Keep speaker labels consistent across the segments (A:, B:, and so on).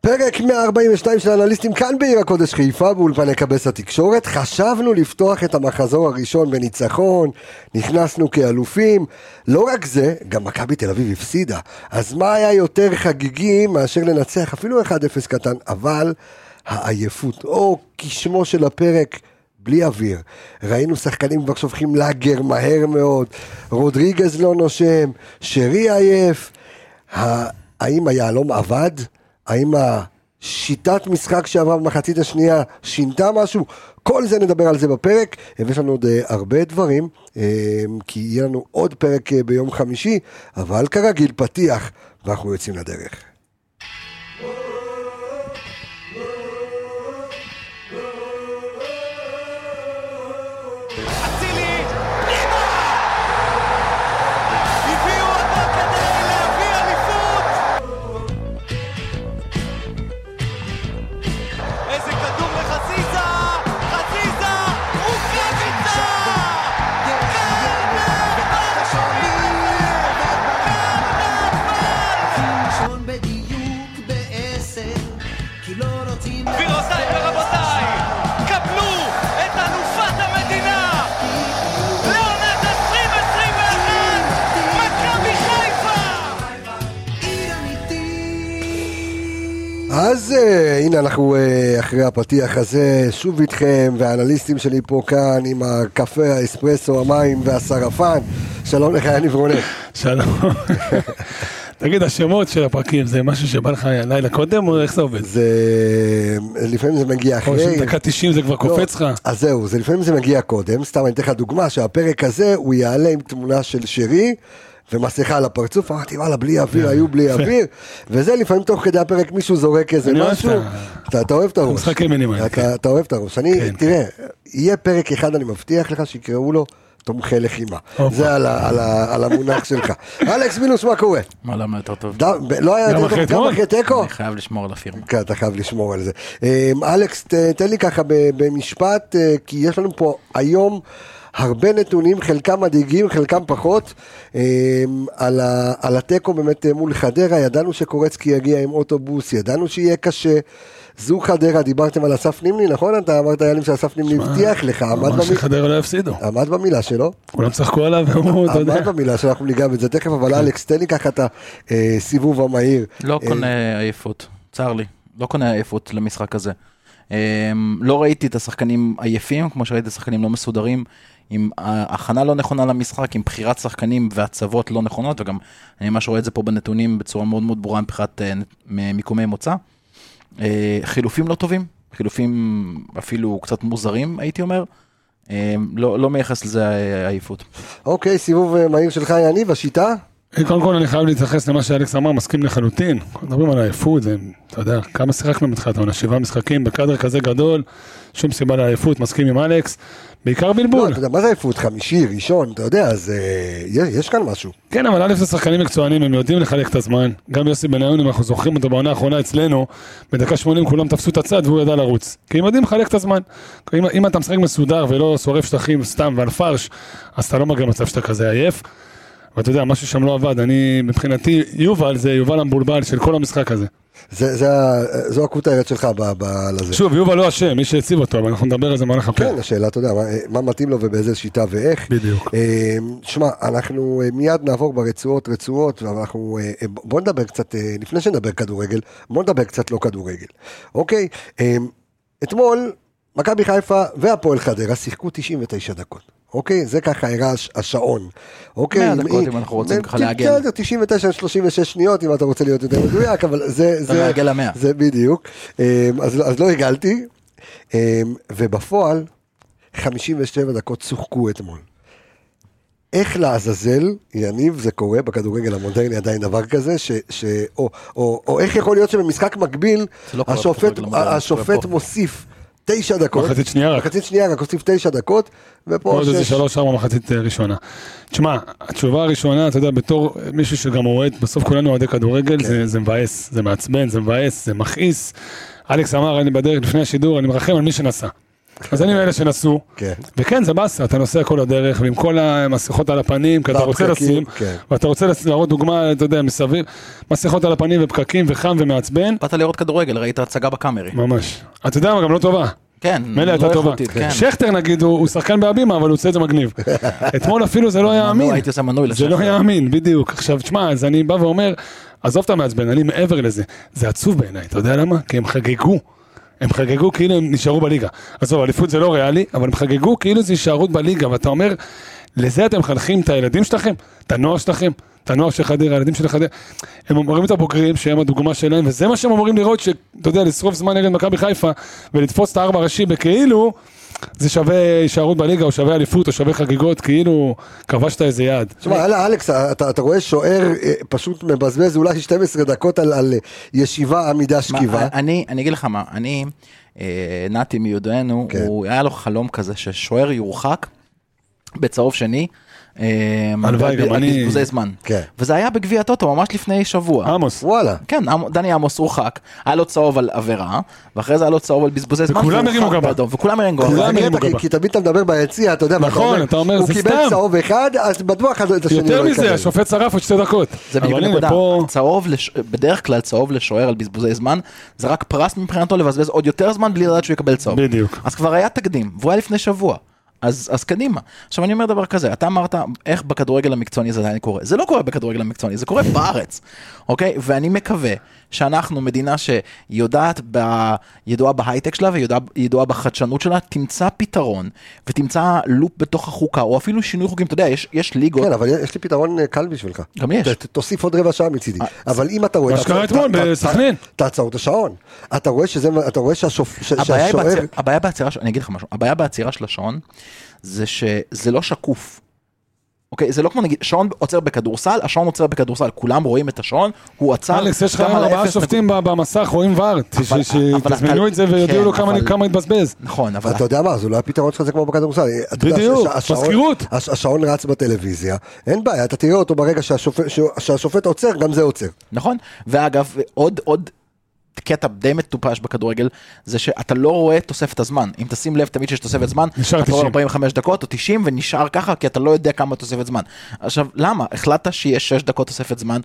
A: פרק 142 של אנליסטים כאן בעיר הקודש חיפה באולפני קבס התקשורת. חשבנו לפתוח את המחזור הראשון בניצחון, נכנסנו כאלופים. לא רק זה, גם מכבי תל אביב הפסידה. אז מה היה יותר חגיגי מאשר לנצח אפילו 1-0 קטן, אבל העייפות, או כשמו של הפרק, בלי אוויר. ראינו שחקנים כבר שופכים לאגר מהר מאוד, רודריגז לא נושם, שרי עייף. ה- האם היהלום עבד? האם השיטת משחק שעברה במחצית השנייה שינתה משהו? כל זה נדבר על זה בפרק, ויש לנו עוד אה, הרבה דברים, אה, כי יהיה לנו עוד פרק אה, ביום חמישי, אבל כרגיל פתיח, ואנחנו יוצאים לדרך.
B: אצילי, אימא! הביאו אותו כדי להביא אליפות! איזה כדור לחזיזה! חזיזה! רוקאביצה!
C: ראשון בדיוק בעשר, כי לא רוצים...
B: גבירותיי ורבותיי, קבלו את אלופת המדינה! לעונת 2021! מכבי חיפה!
A: אז אה, הנה אנחנו אה, אחרי הפתיח הזה שוב איתכם והאנליסטים שלי פה כאן עם הקפה, האספרסו, המים והשרפן שלום לך יניב רונן
D: שלום. תגיד, השמות של הפרקים זה משהו שבא לך לילה קודם, או איך זה עובד?
A: זה אה, לפעמים זה מגיע
D: או
A: אחרי
D: שדקה 90 זה כבר קופץ לך?
A: אוקיי. לא, אז זהו, זה לפעמים זה מגיע קודם סתם אני אתן לך דוגמה שהפרק הזה הוא יעלה עם תמונה של שרי ומסכה על הפרצוף, אמרתי וואלה בלי אוויר, היו בלי אוויר, וזה לפעמים תוך כדי הפרק מישהו זורק איזה
D: אני אוהב
A: משהו,
D: את ה-
A: אתה אתה אוהב את הראש,
D: המשחק המינימלי,
A: אתה-
D: כן.
A: אתה אוהב את הראש, אני,
D: כן,
A: תראה, יהיה פרק אחד אני מבטיח לך שיקראו לו תומכי לחימה,
D: הופה.
A: זה על ה- על ה- על המונח שלך, אלכס מינוס מה קורה,
E: מה למה יותר טוב?
A: ד- ב- לא היה
D: גם
A: יותר טוב,
D: אחרי
A: גם
D: אתמול?
A: אחרי תיקו,
E: אני חייב לשמור על הפירמה.
A: כן, אתה חייב לשמור על זה. אמ, אלכס, ת- תן לי ככה ב- במשפט, אה, כי יש לנו פה היום הרבה נתונים, חלקם מדאיגים, חלקם פחות, אמ, על ה- על התיקו באמת אה, מול חדרה, ידענו שקורצקי יגיע עם אוטובוס, ידענו שיהיה קשה. זו חדרה, דיברתם על אסף נימני, נכון? אתה אמרת יאללה שאסף נימני הבטיח לך, עמד
D: אמר
A: במילה-
D: שחדרה לא יפסידו.
A: עמד במילה שלו.
D: כולם צחקו עליו, והוא, אתה יודע. כן.
A: עמד במילה שלו, אנחנו ניגע בזה תכף, אבל אלכס, תן לי ככה את הסיבוב המהיר.
E: לא
A: אה,
E: קונה עייפות, צר לי. לא קונה עייפות למשחק הזה. אמ, לא ראיתי את השחקנים עייפים, כמו שראיתי את השחקנים לא מסודרים, עם ה- הכנה לא נכונה למשחק, עם בחירת שחקנים והצבות לא נכונות, וגם אני ממש רואה את זה פה בנתונים בצורה מאוד מאוד ברורה מבחינת אה, נ- מ- מיקומי מוצא. אה, חילופים לא טובים, חילופים אפילו קצת מוזרים, הייתי אומר. אמ, לא לא מייחס לזה אה, עייפות.
A: אוקיי, סיבוב אה, מהיר שלך, יניב, השיטה?
D: אה, קודם כל אני חייב להתייחס למה שאלכס אמר, מסכים לחלוטין. מדברים על עייפות, זה, אתה יודע, כמה שיחקנו בתחילת העונה? שבעה משחקים בקאדר כזה גדול, שום סיבה לעייפות, מסכים עם אלכס. בעיקר
A: לא,
D: בלבול.
A: אתה יודע, מה זה עייפות? חמישי, ראשון, אתה יודע, אז אה, יש, יש כאן משהו.
D: כן, אבל א' זה שחקנים מקצוענים, הם יודעים לחלק את הזמן. גם יוסי בניון, אם אנחנו זוכרים אותו בעונה האחרונה אצלנו, בדקה 80 כולם תפסו את הצד והוא ידע לרוץ. כי הם יודעים לחלק את הזמן. אם, אם אתה משחק מסודר ולא שורף שטחים סתם ועל פרש, אז אתה לא מגיע למצב שאתה כזה עייף. ואתה יודע, משהו שם לא עבד. אני, מבחינתי, יובל זה יובל המבולבל של כל המשחק הזה.
A: זה, זה, ה- זו הכותרת שלך ב... ב לזה.
D: שוב, יובל לא אשם, מי שהציב אותו, אבל אנחנו נדבר על זה במהלך הפרק.
A: כן, השאלה, אתה יודע, מה, אה, מה מתאים לו ובאיזה שיטה ואיך.
D: בדיוק.
A: אה, שמע, אנחנו אה, מיד נעבור ברצועות רצועות, אבל אנחנו... אה, אה, בוא נדבר קצת, אה, לפני שנדבר כדורגל, בוא נדבר קצת לא כדורגל. אוקיי? אה, אתמול, מכבי חיפה והפועל חדרה שיחקו 99 דקות. אוקיי? זה ככה הראה הש- השעון. אוקיי?
E: 100 דקות,
A: היא-
E: אם אנחנו רוצים ככה
A: זה-
E: לעגל.
A: בסדר, 99 36 שניות, אם אתה רוצה להיות יותר מדויק, אבל זה... זה-
E: לעגל למאה.
A: זה בדיוק. אה, אז אז לא הגלתי. אה, ובפועל, 57 דקות שוחקו אתמול. איך לעזאזל, יניב, זה קורה בכדורגל המודרני עדיין דבר כזה, ש, ש, או, או, או איך יכול להיות שבמשחק מקביל,
E: זה לא קורה
A: השופט,
E: בכדורגל המודרני, זה
A: השופט
E: קורה פה.
A: מוסיף תשע דקות,
D: מחצית שנייה רק.
A: מחצית שנייה רק הוסיף תשע דקות, ופה
D: עוד איזה שלוש ארבע מחצית אה, ראשונה. תשמע, התשובה הראשונה, אתה יודע, בתור אה, מישהו שגם אוהד, בסוף כולנו אוהדי
A: כן.
D: כדורגל, זה- זה מבאס, זה מעצבן, זה מבאס, זה מכעיס. אלכס אמר, אני בדרך לפני השידור, אני מרחם על מי שנסע. אז אני מאלה שנסעו,
A: כן.
D: וכן זה באסה, אתה נוסע כל הדרך, ועם כל המסכות על הפנים, כי אתה רוצה
A: והפקקים,
D: לשים,
A: כן.
D: ואתה רוצה לס- להראות דוגמה, אתה יודע, מסביב, מסכות על הפנים ופקקים וחם ומעצבן,
E: באת לראות כדורגל, ראית הצגה בקאמרי.
D: ממש. אתה יודע מה, גם לא טובה.
E: כן,
D: מילא
E: לא
D: הייתה טובה.
E: איכותית, כן.
D: שכטר נגיד, הוא הוא שחקן בהבימה, אבל הוא עושה את זה מגניב. אתמול אפילו זה לא היה
E: מנוי,
D: אמין.
E: הייתי עושה מנוי
D: זה
E: לשכטר.
D: לא יאמין, בדיוק. עכשיו, תשמע, אז אני בא ואומר, עזוב את המעצבן, אני מעבר לזה. זה עצוב בעיניי, אתה יודע למה? כי הם חגגו. הם חגגו כאילו הם נשארו בליגה. עזוב, אליפות זה לא ריאלי, אבל הם חגגו כאילו זה הישארות בליגה, ואתה אומר, לזה אתם מחנכים את הילדים שלכם? את הנוער שלכם? את הנוער של חדרה, הילדים של חדרה? הם אומרים את הבוגרים שהם הדוגמה שלהם, וזה מה שהם אמורים לראות, שאתה יודע, לשרוף זמן נגד מכבי חיפה, ולתפוס את הארבע ראשי בכאילו, זה שווה הישארות בליגה, או שווה אליפות, או שווה חגיגות, כאילו, כבשת איזה יעד.
A: תשמע, אללה, אלכס, אתה, אתה רואה שוער אה, פשוט מבזבז אולי 12 דקות על, על אה, ישיבה, עמידה,
E: מה,
D: אה,
A: שכיבה.
E: אני, אני אגיד לך מה, אני, אה, נתי מיודענו,
A: כן.
E: הוא היה לו חלום כזה ששוער יורחק בצהוב שני. אה,
D: הלוואי,
E: על-
D: גם
E: על
D: אני- אמ-
E: בזבוזי זמן.
A: כן.
E: וזה היה בגביע הטוטו ממש לפני שבוע.
D: עמוס.
A: וואלה.
E: כן, עמ- דני עמוס הורחק, היה לו צהוב על עבירה, ואחרי זה היה לו צהוב על בזבוזי זמן.
D: וכולם
E: והוא
D: הרימו
E: הורחק
D: גבה.
E: באדום, וכולם הרימו גבה.
D: כולם
A: זה
D: הרימו
A: הקטע,
D: גבה.
A: כי- כי תמיד אתה מדבר ביציע, אתה יודע,
D: נכון, אתה אומר, זה
A: הוא קיבל
D: סתם.
A: צהוב אחד, אז בטוח את השני
D: יותר
A: לא
D: מזה,
A: יקבל.
D: השופט שרף עוד שתי דקות.
E: זה בדיוק
D: אבל הנה,
E: הנקודה,
D: פה-
E: צהוב, לש... בדרך כלל צהוב לשוער על בזבוזי זמן, זה רק פרס מבחינתו לבזבז עוד יותר זמן בלי לדעת שהוא יקבל צהוב.
D: בדיוק.
E: אז כבר היה תקדים, והוא היה לפני שבוע. אז, אז קדימה. עכשיו אני אומר דבר כזה, אתה אמרת איך בכדורגל המקצועני זה עדיין קורה. זה לא קורה בכדורגל המקצועני, זה קורה בארץ, אוקיי? ואני מקווה שאנחנו, מדינה שיודעת, ב... ידועה בהייטק שלה וידועה ידועה בחדשנות שלה, תמצא פתרון ותמצא לופ בתוך החוקה, או אפילו שינוי חוקים. אתה יודע, יש, יש ליגות,
A: כן, אבל יש לי פתרון אה, קל בשבילך.
E: גם לי יש.
A: ת- תוסיף עוד רבע שעה מצידי. אבל אם אתה רואה...
D: אה, מה שקרה
A: תעצור-
D: אתמול
A: ת- ת-
D: בסכנין.
A: ת- תעצור את השעון. אתה רואה שזה... אתה רואה שהשופ- ש-
E: הבעיה היא
A: שהשוער...
E: בעציר- הבעיה בעצירה, של- אני אגיד לך משהו, הבעיה בעצירה של השעון זה שזה לא שקוף. אוקיי, זה לא כמו נגיד, שעון עוצר בכדורסל, השעון עוצר בכדורסל, כולם רואים את השעון, הוא עצר.
D: אלכס, יש לך
E: גם על
D: ארבעה
E: האפס נקוד-
D: שופטים ב- במסך, רואים ור, ת- ש-
E: אבל- אבל
D: שתזמנו
E: אתה-
D: את זה ויודיעו
E: כן,
D: לו כמה-
E: אבל-
D: כמה התבזבז.
E: נכון, אבל
A: אתה יודע מה, אז אולי הפתרון שלך זה כמו בכדורסל. אתה יודע
D: בדיוק,
A: שהש- השעון-
D: מזכירות.
A: הש- השעון רץ בטלוויזיה, אין בעיה, אתה תראה אותו ברגע שהשופט- ש- שהשופט עוצר, גם זה עוצר.
E: נכון? ואגב, עוד, עוד קטע די מטופש בכדורגל, זה שאתה לא רואה את תוספת הזמן. אם תשים לב תמיד שיש תוספת זמן,
D: נשאר
E: אתה רואה
D: 90.
E: 45 דקות או 90 ונשאר ככה, כי אתה לא יודע כמה תוספת זמן. עכשיו, למה? החלטת שיש 6 דקות תוספת זמן.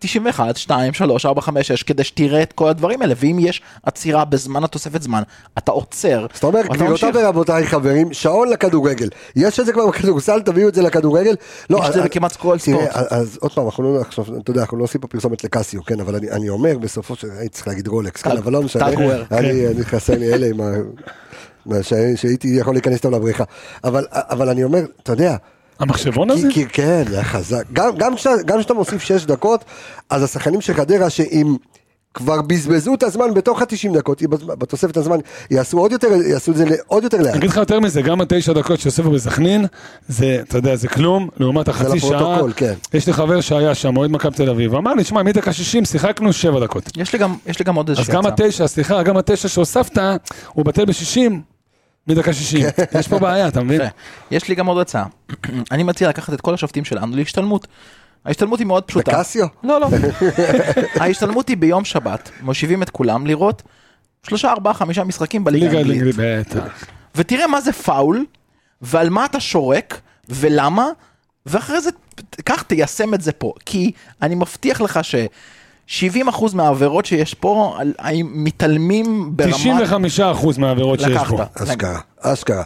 E: 91, 2, 3, 4, 5, 6, כדי שתראה את כל הדברים האלה, ואם יש עצירה בזמן התוספת זמן, אתה עוצר.
A: זאת אומרת, כאילו,
E: או אתה
A: גבירותיי
E: ממשיך.
A: ורבותיי חברים, שעון לכדורגל. יש את זה כבר בכדורסל, תביאו את זה לכדורגל. לא,
E: יש את
A: אז-
E: זה
A: אז-
E: בכמעט כל
A: תראה,
E: ספורט.
A: אז- אז עוד פעם, אנחנו לא עכשיו, אתה יודע, אנחנו לא עושים פה פרסומת לקסיו, כן, אבל אני- אני אומר, בסופו של הייתי צריך להגיד רולקס, כן,
E: טל-
A: אבל לא משנה.
E: טל גואר,
A: אני אני חסר לי אלה עם ה... מה ש- שהייתי יכול להיכנס איתם לבריכה. אבל- אבל אני אומר, אתה יודע,
D: המחשבון הזה?
A: כי, כי כן, זה היה חזק. גם, גם, כשה, גם כשאתה מוסיף 6 דקות, אז השחקנים של חדרה שאם כבר בזבזו את הזמן בתוך ה-90 דקות, יבז- בתוספת הזמן, יעשו עוד יותר, יעשו את זה ל- עוד יותר לאט.
D: אני אגיד לך יותר מזה, גם התשע דקות שיוספו בסכנין, זה, אתה יודע, זה כלום, לעומת החצי שעה.
A: לפרוטוקול, כן.
D: יש לי חבר שהיה שם, אוהד מכבי תל אביב, אמר לי, שמע, מדקה 60 שיחקנו 7 דקות.
E: יש לי גם, יש לי גם עוד
D: אז
E: איזושהי
D: גם
E: הצעה.
D: התשע, סליחה, גם התשע שהוספת, הוא בטל ב-60 מדקה 60. יש פה בעיה, אתה מבין?
E: תראה, כן, יש לי גם עוד הצעה. אני מציע לקחת את כל השופטים שלנו להשתלמות. ההשתלמות היא מאוד פשוטה.
A: בקסיו?
E: לא, לא. ההשתלמות היא ביום שבת, מושיבים את כולם לראות שלושה, ארבעה, חמישה משחקים בליגה
D: ליגה
E: האנגלית.
D: ליגה, בטח.
E: ותראה מה זה פאול, ועל מה אתה שורק, ולמה, ואחרי זה, כך תיישם את זה פה. כי אני מבטיח לך ש... 70% מהעבירות שיש פה, על- מתעלמים ברמת...
D: 95% מהעבירות שיש
E: לקחת. כן.
D: פה.
A: אשכרה, אשכרה.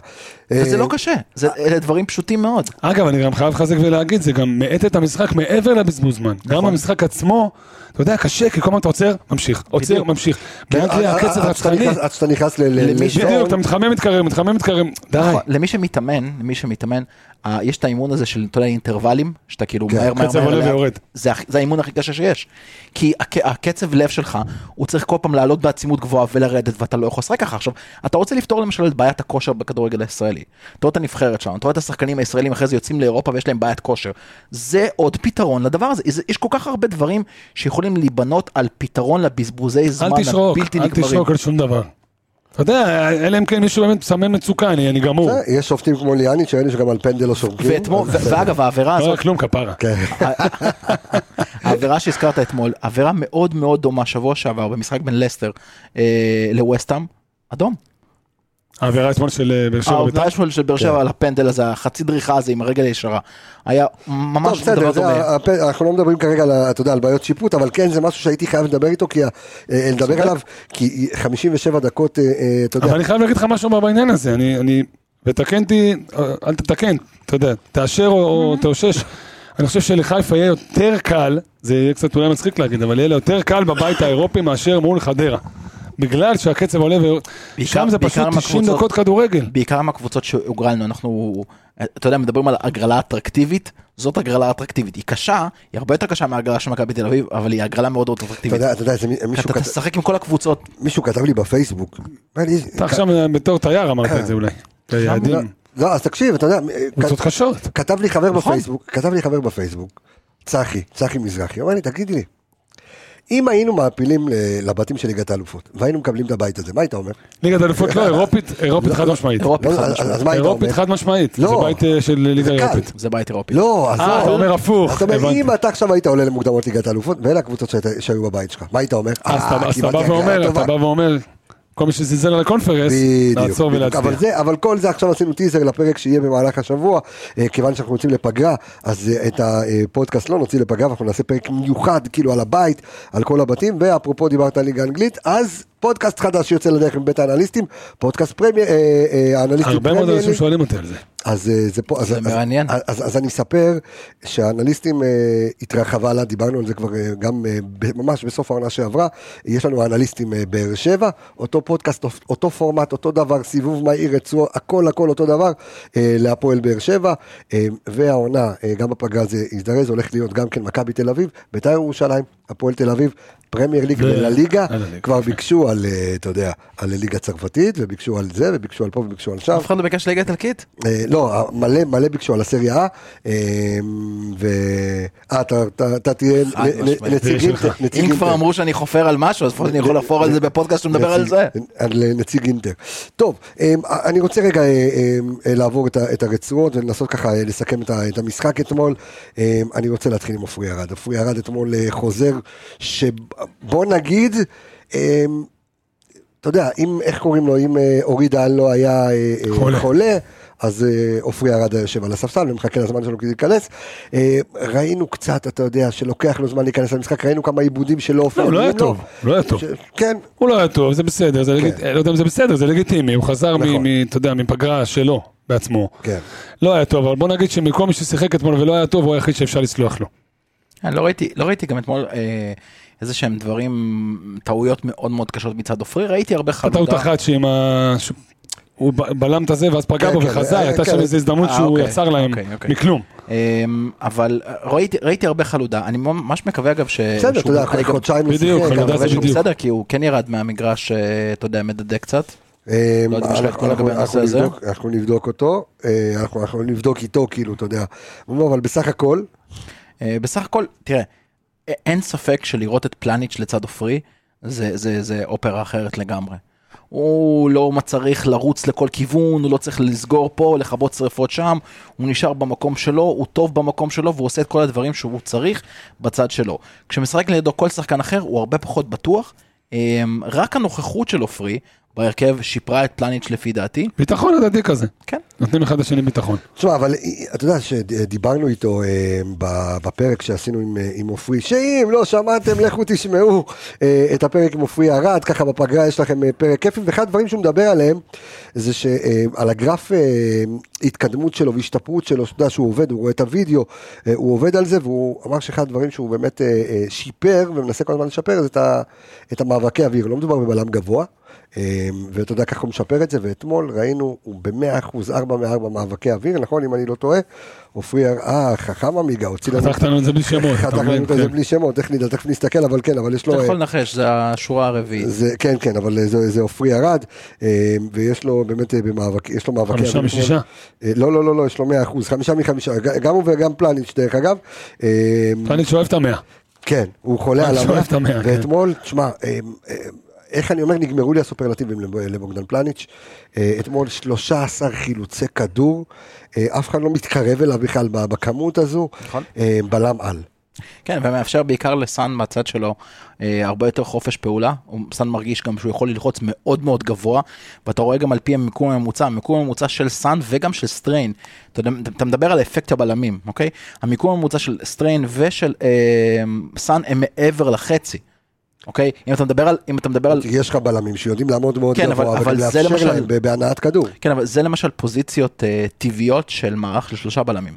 E: וזה
A: אה,
E: לא קשה, זה, אלה דברים פשוטים מאוד.
D: אגב, אני גם חייב לחזק ולהגיד, זה גם מאט את המשחק מעבר לבזבוז זמן. גם המשחק עצמו, אתה יודע, קשה, כי כל הזמן אתה עוצר, ממשיך, עוצר,
E: בדיוק.
D: ממשיך.
A: כן,
D: באנגליה
A: עד-
D: הקצב
A: עד שאתה
D: רצחני,
A: נכנס- עד שאתה נכנס ל... ל-
E: למי
A: לזון,
D: כן, בדיוק, אתה מתחמם, מתקרב, מתחמם, מתקרב, די.
E: נכון, למי שמתאמן, למי שמתאמן, אה, יש את האימון הזה של, אתה יודע, אינטרוולים, שאתה כאילו
A: כן,
E: מהר מהר
D: הקצב
E: מהר
D: עולה
E: לאט.
D: ויורד.
E: זה, הכ- זה האימון הכי קשה שיש. כי הק, הקצב לב שלך, הוא צריך כל פעם לעלות בעצימות גבוהה ולרדת, ואתה לא יכול לשחק ככה. עכשיו, אתה רוצה לפתור למשל את בעיית הכושר בכדורגל הישראלי. אתה רואה את הנבחרת שלנו, אתה רואה את השחקנים הישראלים אחרי זה יוצאים לאירופה ויש להם בעיית כושר. זה עוד פתרון לדבר הזה. זה- יש כל כך הרבה דברים שיכולים להיבנות על פתרון לבזבוזי זמן
D: אל תשרוק,
E: הבלתי
D: אל
E: נגמרים.
D: תשרוק על שום דבר. אתה יודע, אלא אם כן מישהו באמת מסמן מצוקה, אני אני גמור. לא
A: אה, יש שופטים כמו ליאני, שראינו שגם על פנדל לא שורקים.
E: ואתמול,
A: אז-
E: ו- ואגב, העבירה
D: לא
E: הזאת,
D: היה כלום כפרה.
E: העבירה שהזכרת אתמול, עבירה מאוד מאוד דומה שבוע שעבר במשחק בין לסטר אה, לווסטהאם, אדום.
D: העבירה אתמול של אה, באר שבע בית"ר?
E: העובדה שלו של באר
A: כן.
E: שבע על הפנדל הזה, החצי דריכה הזה עם הרגל הישרה, היה ממש
A: טוב, בסדר,
E: דבר
A: זה
E: טוב.
A: ה- הפ- אנחנו לא מדברים כרגע, על ה- אתה יודע, על בעיות שיפוט, אבל כן, זה משהו שהייתי חייב לדבר איתו, כי ה- אה, לדבר עליו, כי 57 דקות, אה, אה, אתה
D: אבל
A: יודע,
D: אני חייב להגיד לך משהו בעניין הזה, אני, אני, ותקן אותי, אל תתקן, אתה יודע, תאשר או, או תאושש. אני חושב שלחיפה יהיה יותר קל, זה יהיה קצת אולי מצחיק להגיד, אבל יהיה לה יותר קל בבית האירופי מאשר מול חדרה. בגלל שהקצב עולה, ו...
E: בעיקר-
D: שם זה
E: בעיקר
D: פשוט
E: עם
D: 90
E: הקבוצות.
D: דקות כדורגל.
E: בעיקר מהקבוצות שהוגרלנו, אנחנו, אתה יודע, מדברים על הגרלה אטרקטיבית, זאת הגרלה אטרקטיבית. היא קשה, היא הרבה יותר קשה מההגרלה של מכבי תל אביב, אבל היא הגרלה מאוד מאוד
A: אתה
E: אטרקטיבית.
A: יודע, אתה יודע, איזה מי- מישהו
E: אתה
A: כת-
E: תשחק עם כל הקבוצות,
A: מישהו כתב לי בפייסבוק, אמר לי,
D: אתה עכשיו אה, בתור תייר אמרת את זה אולי.
A: לא,
D: ליעדים.
A: לא, אז תקשיב, אתה יודע,
D: קבוצות
A: כת-
D: קשות.
A: כתב לי חבר
E: נכון.
A: בפייסבוק, כתב לי חבר בפייסבוק, צחי, צחי מזרחי, אמר לי, תגיד לי, אם היינו מעפילים ל- לבתים של ליגת האלופות, והיינו מקבלים את הבית הזה, מה היית אומר?
D: ליגת אלופות לא, אירופית, אירופית חד משמעית.
E: אירופית
A: לא,
E: חד
A: אז-
E: משמעית.
A: אז מה היית אומר?
D: אירופית חד משמעית, זה
A: לא.
D: בית אה, של ליגה
A: זה קל.
D: אירופית.
E: זה בית אירופי.
A: לא, אז
D: אה, אתה אומר הפוך,
A: אתה אומר,
D: הבנתי.
A: אם אתה עכשיו היית עולה למוקדמות ליגת האלופות, ואלה הקבוצות שהיית- שהיו בבית שלך, מה היית אומר?
D: אז
A: אה,
D: אתה- אז אתה
A: קיבלתי
D: בא
A: הגרלה
D: ואומר,
A: טובה.
D: אתה בא ואומר, כל מי שזלזל על הקונפרנס,
A: בדיוק,
D: לעצור
A: בדיוק.
D: ולהצביע.
A: אבל, זה, אבל כל זה עכשיו עשינו טיזר לפרק שיהיה במהלך השבוע, אה, כיוון שאנחנו יוצאים לפגרה, אז אה, את הפודקאסט לא נוציא לפגרה, ואנחנו נעשה פרק מיוחד כאילו על הבית, על כל הבתים, ואפרופו דיברת על ליגה אנגלית, אז פודקאסט חדש שיוצא לדרך מבית האנליסטים, פודקאסט פרמייר, אה, אה, האנליסטים
D: הרבה מאוד
A: פרמייר
D: אנשים
A: ליג.
D: שואלים אותי על זה.
A: אז אה, זה פה, אז,
E: זה
A: אז,
E: מעניין.
A: אז, אז, אז אני אספר שהאנליסטים אה, התרחבה לה, דיברנו על זה כבר אה, גם אה, ב, ממש בסוף העונה שעברה, יש לנו אנליסטים אה, באר שבע, אותו פודקאסט, אותו פורמט, אותו דבר, סיבוב מהיר, רצוע, הכל הכל אותו דבר, אה, להפועל באר שבע, אה, והעונה, אה, גם בפגרה זה הזדרז, הולך להיות גם כן מכבי תל אביב, בית"ר ירושלים, הפועל תל אביב, פרמייר ליג
D: ו-
A: ולליגה,
D: על הליגה.
A: כבר ביקשו על, אה, אתה יודע, על ליגה צרפתית, וביקשו על זה, וביקשו על פה, וביקשו על שם.
E: אף אחד לא ביקש ליגה איטלקית?
A: אה, לא, מלא מלא ביקשו על הסריה A, אה, ו... אה, אתה- אתה אתה תהיה
E: חד
A: נ- נ-
E: משמעית.
A: נציגים,
D: זה שלך.
E: אם
A: נציג
E: כבר אמרו שאני חופר על משהו, אז לפחות אני יכול לחפור על זה בפודקאסט שמדבר על
A: נציג-
E: זה.
A: על אה, נציג אינטר. טוב, אה, אני רוצה רגע אה, אה, לעבור את ה- את הרצועות ולנסות ככה אה, לסכם את ה- את המשחק אתמול. אה, אני רוצה להתחיל עם עופרי ארד. עופרי ארד אתמול אה, חוזר, שבוא נגיד, אה, אתה יודע, אם, איך קוראים לו, אם אה, אורי דהן לא היה אה, אה,
D: חולה.
A: חולה, אז אה, עופרי ארד היה יושב על הספסל ומחכה לזמן שלו כדי להיכנס. אה, ראינו קצת, אתה יודע, שלוקח לו זמן להיכנס למשחק, ראינו כמה עיבודים שלא
D: לא,
A: אופיינים
D: הוא לא היה
A: לו.
D: טוב, לא היה טוב.
A: ש- כן,
D: הוא לא היה טוב, זה בסדר, זה לגיט- לא יודע אם זה בסדר, זה לגיטימי, הוא חזר מ-
A: נכון.
D: מ- אתה יודע, מפגרה שלו, בעצמו.
A: כן.
E: אה,
D: לא היה טוב, אבל בוא נגיד שמכל מי ששיחק אתמול ולא היה טוב, הוא היחיד שאפשר לסלוח לו.
E: אני לא ראיתי, לא ראיתי גם אתמול אה, איזה שהם דברים, טעויות מאוד מאוד קשות מצד עופרי, ראיתי הרבה
D: הייתה טעות
E: חלודה.
D: אחת שעם ה... ש- הוא ב- בלם את הזה ואז פגע
A: כן,
D: בו
A: כן,
D: וחזר,
A: אה,
D: הייתה
A: כן.
D: שם איזו הזדמנות
E: אה,
D: שהוא
E: אוקיי,
D: יצר להם
E: אוקיי, אוקיי.
D: מכלום.
E: אה, אבל אה, ראיתי, ראיתי הרבה חלודה, אני ממש מקווה אגב ש...
A: בסדר, אתה
E: שהוא-
A: יודע,
E: אני
A: אחרי
E: גם-
A: חודשיים הוא
D: בדיוק,
A: שיחק,
E: אני
D: חלודה
A: אבל-
E: מקווה
D: זה
E: שהוא
D: בדיוק.
E: בסדר, כי הוא כן ירד מהמגרש, אה, אתה יודע, מדדה קצת.
A: אה,
E: לא יודע אם יש לך את כל
A: אנחנו-
E: לגבי
A: אנחנו
E: הנושא הזה.
A: נבדוק- אנחנו נבדוק אותו, אה, אנחנו אנחנו נבדוק איתו, כאילו, אתה יודע. לא, אבל בסך הכל,
E: אה, בסך הכל, תראה, א- אין ספק שלראות את פלניץ' לצד עופרי, זה, זה, זה אופרה אחרת לגמרי. הוא לא צריך לרוץ לכל כיוון, הוא לא צריך לסגור פה, לכבות שרפות שם, הוא נשאר במקום שלו, הוא טוב במקום שלו, והוא עושה את כל הדברים שהוא צריך בצד שלו. כשמשחק לידו כל שחקן אחר, הוא הרבה פחות בטוח. אה, רק הנוכחות של עופרי בהרכב שיפרה את פלניץ' לפי דעתי.
D: ביטחון הדדי כזה.
E: כן.
D: נותנים אחד לשני ביטחון.
A: תשמע, אבל אה, אתה יודע שדיברנו איתו אה, ב- בפרק שעשינו עם, אה, עם עופרי, שאם לא שמעתם, לכו תשמעו אה, את הפרק עם עופרי ארד, ככה בפגרה יש לכם אה, פרק כיפי, ואחד הדברים שהוא מדבר עליהם, זה שעל הגרף אה, התקדמות שלו והשתפרות שלו, אתה יודע שהוא עובד, הוא רואה את הוידאו, אה, הוא עובד על זה, והוא אמר שאחד הדברים שהוא באמת אה, אה, שיפר, ומנסה כל הזמן לשפר, זה את, ה, את המאבקי אוויר, לא מדובר בבלם גבוה. אה, ואתה יודע ככה הוא משפר את זה, ואתמול ראינו, הוא במאה אחוז, ארבע מארבע מאבקי אוויר, נכון? אם אני לא טועה, עופרי, הר- אה, חכם עמיגה, הוציא לנו...
D: חתכת לנו את זה בלי שמות. אתה
A: חתכנו
D: מבין?
A: את זה
D: כן.
A: בלי שמות, איך נדע, תכף נסתכל, אבל כן, אבל יש לו...
E: אתה
A: אה,
E: יכול לנחש, זה השורה הרביעית.
A: זה, כן, כן, אבל זה, זה עופרי ארד, אה, ויש לו באמת אה, במאבק, יש לו מאבקי...
D: חמישה
A: אוויר.
D: משישה?
A: אה, לא, לא, לא, לא, יש לו מאה אחוז, חמישה מחמישה, ג- גם הוא וגם פלניץ' דרך אגב. אה,
D: פאניץ' שאוהב את המאה.
A: כן, הוא חולה
D: אני
A: עליו,
D: שואף את המאה, כן.
A: ואתמול, תשמע, אה, אה, איך אני אומר, נגמרו לי הסופרלטיבים לב- לבוגדן פלניץ', אה, אתמול 13 חילוצי כדור, אה, אף אחד לא מתקרב אליו בכלל ב- בכמות הזו,
E: נכון.
A: אה, בלם על.
E: כן, ומאפשר בעיקר לסאן מהצד שלו אה, הרבה יותר חופש פעולה. הוא- סאן מרגיש גם שהוא יכול ללחוץ מאוד מאוד גבוה, ואתה רואה גם על פי המיקום הממוצע, המיקום הממוצע של סאן וגם של סטריין. אתה, יודע, אתה מדבר על אפקט הבלמים, אוקיי? המיקום הממוצע של סטריין ושל אה, סאן הם מעבר לחצי, אוקיי? אם אתה מדבר על... אם אתה מדבר על...
A: יש לך בלמים שיודעים לעמוד מאוד
E: כן, אבל-
A: גבוה,
E: אבל
A: וגם
E: זה
A: לאפשר
E: למשל-
A: להם ב- בהנעת כדור.
E: כן, אבל זה למשל פוזיציות אה, טבעיות של מערך של שלושה בלמים.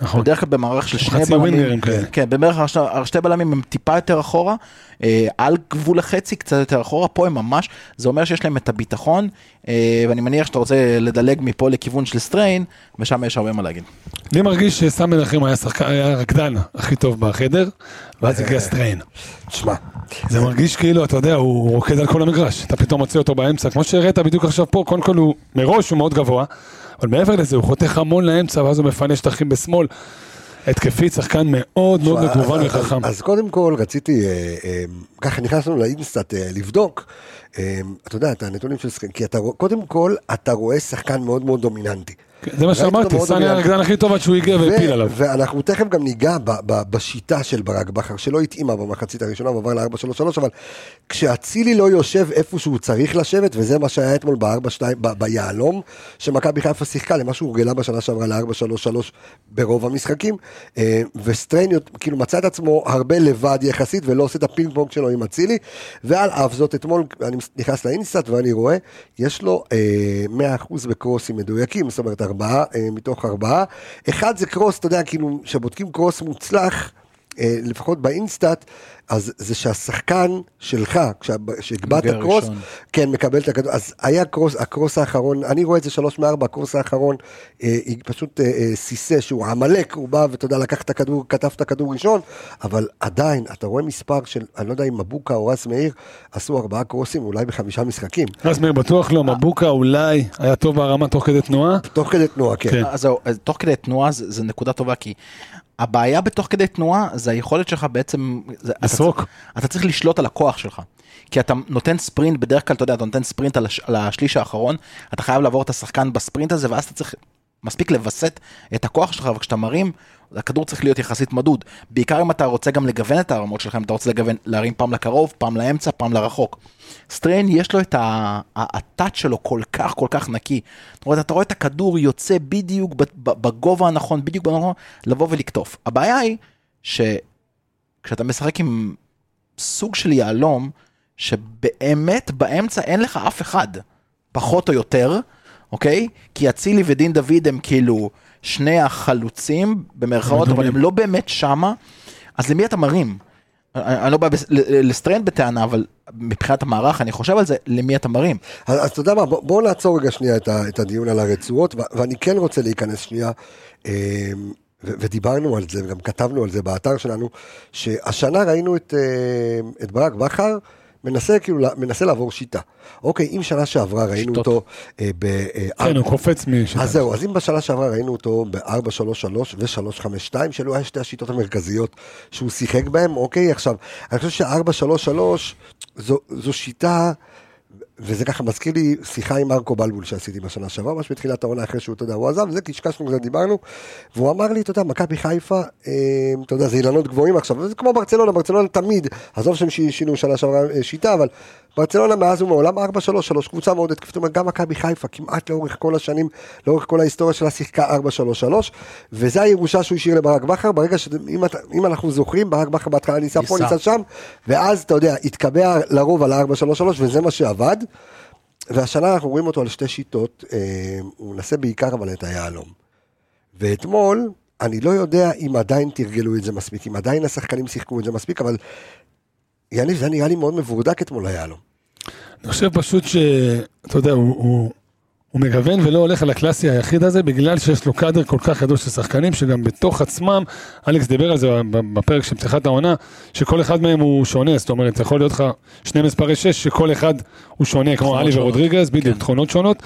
D: נכון.
E: בדרך כלל במערך של שני
D: חצי ווינגרים
E: בלמים,
D: כאלה.
E: כן, במערך הש- השתי בלמים הם טיפה יותר אחורה, אה, על גבול החצי קצת יותר אחורה, פה הם ממש, זה אומר שיש להם את הביטחון, אה, ואני מניח שאתה רוצה לדלג מפה לכיוון של סטריין, ושם יש הרבה מה להגיד.
D: לי מרגיש שסם מנחם היה שחקן, היה הרקדן הכי טוב בחדר, ואז
A: אה.
D: הגיע סטריין.
A: תשמע,
D: זה מרגיש כאילו, אתה יודע, הוא רוקד על כל המגרש. אתה פתאום מוצא אותו באמצע, כמו שהראית בדיוק עכשיו פה, קודם כל הוא, מראש הוא מאוד גבוה, אבל מעבר לזה הוא חותך המון לאמצע, ואז הוא מפנה שטחים בשמאל. התקפית, שחקן מאוד מאוד
A: תשמע,
D: מגוון
A: אז-
D: וחכם.
A: אז- אז קודם כל רציתי, אה, אה, ככה נכנסנו לאינסטאט אה, לבדוק, אה, אתה יודע, את הנתונים של שחקן, כי אתה רוא- קודם כל, אתה רואה שחקן מאוד מאוד דומיננטי.
D: זה מה
A: ראיתי אותו
D: שאמרתי,
A: מאוד
D: סאן היה
A: דומיננטי.
D: הרקדן הכי טוב עד שהוא הגיע והפיל
A: ו-
D: עליו.
A: ואנחנו תכף גם ניגע ב- ב- בשיטה של ברק בכר, שלא התאימה במחצית הראשונה, הוא עבר ל-4-3-3, אבל כשאצילי לא יושב איפה שהוא צריך לשבת, וזה מה שהיה אתמול ב-4-2, ב- ביהלום, שמכבי חיפה שיחקה למה שהורגלה בשנה שעברה ל-4-3-3 ברוב המשחקים, אה, וסטריין יות- כאילו מצא את עצמו הרבה לבד יחסית, ולא עושה את הפינג פונג שלו עם אצילי, ועל אף זאת אתמול אני נכנס לאינסטאט ואני רואה, יש לו אה, 100% בקרוסים מדויקים, זאת אומרת ארבעה אה, מתוך ארבעה. אחד זה קרוס, אתה יודע, כאילו, כשבודקים קרוס מוצלח, אה, לפחות באינסטאט, אז זה שהשחקן שלך, כשה- כשהגבהת
E: נוגע
A: קרוס,
E: ראשון.
A: כן, מקבל את הכדור, אז היה קרוס, הקרוס האחרון, אני רואה את זה שלוש מארבע, הקרוס האחרון, אה, היא פשוט אה, אה, סיסה שהוא עמלק, הוא בא ואתה יודע, לקח את הכדור, כתב את הכדור ראשון, אבל עדיין, אתה רואה מספר של, אני לא יודע אם מבוקה או רז מאיר, עשו ארבעה קרוסים אולי בחמישה משחקים,
D: רז מאיר בטוח לא, מבוקה אולי היה טוב בהרמה תוך כדי תנועה.
A: תוך כדי תנועה, כן.
D: כן.
E: אז זהו, אז תוך כדי תנועה זה, זה נקודה טובה, כי הבעיה בתוך כדי תנועה זה היכולת שלך בעצם... זה, אתה
D: לסרוק.
E: צריך- אתה צריך לשלוט על הכוח שלך. כי אתה נותן ספרינט, בדרך כלל אתה יודע, אתה נותן ספרינט על, הש, על השליש האחרון, אתה חייב לעבור את השחקן בספרינט הזה, ואז אתה צריך מספיק לווסת את הכוח שלך, וכשאתה מרים, הכדור צריך להיות יחסית מדוד. בעיקר אם אתה רוצה גם לגוון את הרמות שלך, אם אתה רוצה לגוון, להרים פעם לקרוב, פעם לאמצע, פעם לרחוק. סטריין יש לו את ה- ה- הטאט שלו כל כך כל כך נקי. זאת אומרת, אתה רואה את הכדור יוצא בדיוק ב- ב- בגובה הנכון, בדיוק בנכון, לבוא ולקטוף. הבעיה היא ש... כשאתה משחק עם סוג של יהלום, שבאמת באמצע אין לך אף אחד, פחות או יותר, אוקיי? כי אצילי ודין דוד הם כאילו שני החלוצים, במרכאות, אבל הם לא באמת שמה, אז למי אתה מרים? אני אני לא בא בס- ל- ל- לסטרנד בטענה, אבל מבחינת המערך, אני חושב על זה, למי אתה מרים?
A: אז, אז אתה יודע מה, בוא, בוא נעצור רגע שנייה את, ה, את הדיון על הרצועות, ו, ואני כן רוצה להיכנס שנייה, אמ, ו, ודיברנו על זה, וגם כתבנו על זה באתר שלנו, שהשנה ראינו את, אמ, את ברק בכר. מנסה כאילו, לה- מנסה לעבור שיטה. אוקיי, אם שנה שעברה ראינו
E: שיטות.
A: אותו אה, ב... אה,
D: כן, הוא קופץ מש...
A: אז זהו, אז אם בשנה שעברה ראינו אותו ב-4-3-3 ו-3-5-2, שאלו היה שתי השיטות המרכזיות שהוא שיחק בהן, אוקיי, עכשיו, אני חושב ש-4-3-3 זו, זו שיטה, וזה ככה מזכיר לי שיחה עם מרקו בלבול שעשיתי בשנה שעברה, ממש בתחילת העונה אחרי שהוא, אתה יודע, הוא עזב, זה קשקשנו קצת, דיברנו, והוא אמר לי, אתה יודע, מכבי חיפה, אה, אתה יודע, זה אילנות גבוהים עכשיו, וזה כמו ברצלונה, ברצלונה תמיד, עזוב שהם שי- שינו שנה שעברה אה, שיטה, אבל ברצלונה מאז ומעולם 4-3-3, קבוצה מאוד התקפית, זאת אומרת, גם מכבי חיפה כמעט לאורך כל השנים, לאורך כל ההיסטוריה שלה שיחקה 4-3-3, וזה הירושה שהוא השאיר לברק בכר, ברגע ש... אם, אתה- אם אנחנו זוכרים, ברק בכר בהתחלה ניסה פה,
E: ניסה.
A: ניסה שם, ואז, אתה יודע, התקבע לרוב על ה-4-3-3, וזה מה שעבד, והשנה אנחנו רואים אותו על שתי שיטות, אה, הוא מנסה בעיקר אבל את היהלום. ואתמול, אני לא יודע אם עדיין תרגלו את זה מספיק, אם עדיין השחקנים שיחקו את זה מספיק, אבל יניב, זה נראה לי מאוד מבורדק אתמול היהלום.
D: אני חושב פשוט ש... אתה יודע, הוא, הוא, הוא מגוון ולא הולך על הקלאסי היחיד הזה, בגלל שיש לו קאדר כל כך גדול של שחקנים, שגם בתוך עצמם, אלכס דיבר על זה בפרק של פתיחת העונה, שכל אחד מהם הוא שונה, זאת אומרת, יכול להיות לך שני מספרי שש, שכל אחד הוא שונה, כמו
E: תכונות
D: עלי
E: שונות.
D: ורודריגז, בדיוק,
E: כן.
D: תכונות שונות.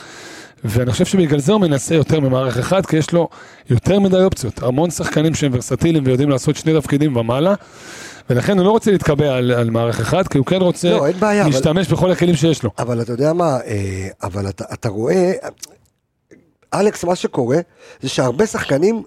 D: ואני חושב שבגלל זה הוא מנסה יותר ממערך אחד, כי יש לו יותר מדי אופציות, המון שחקנים שהם ורסטיליים ויודעים לעשות שני תפקידים ומעלה, ולכן הוא לא רוצה להתקבע על, על מערך אחד, כי הוא כן רוצה
A: לא, אין בעיה, אבל-
D: להשתמש בכל הכלים שיש לו.
A: אבל אתה יודע מה, אה, אבל אתה, אתה רואה, אלכס, מה שקורה, זה שהרבה שחקנים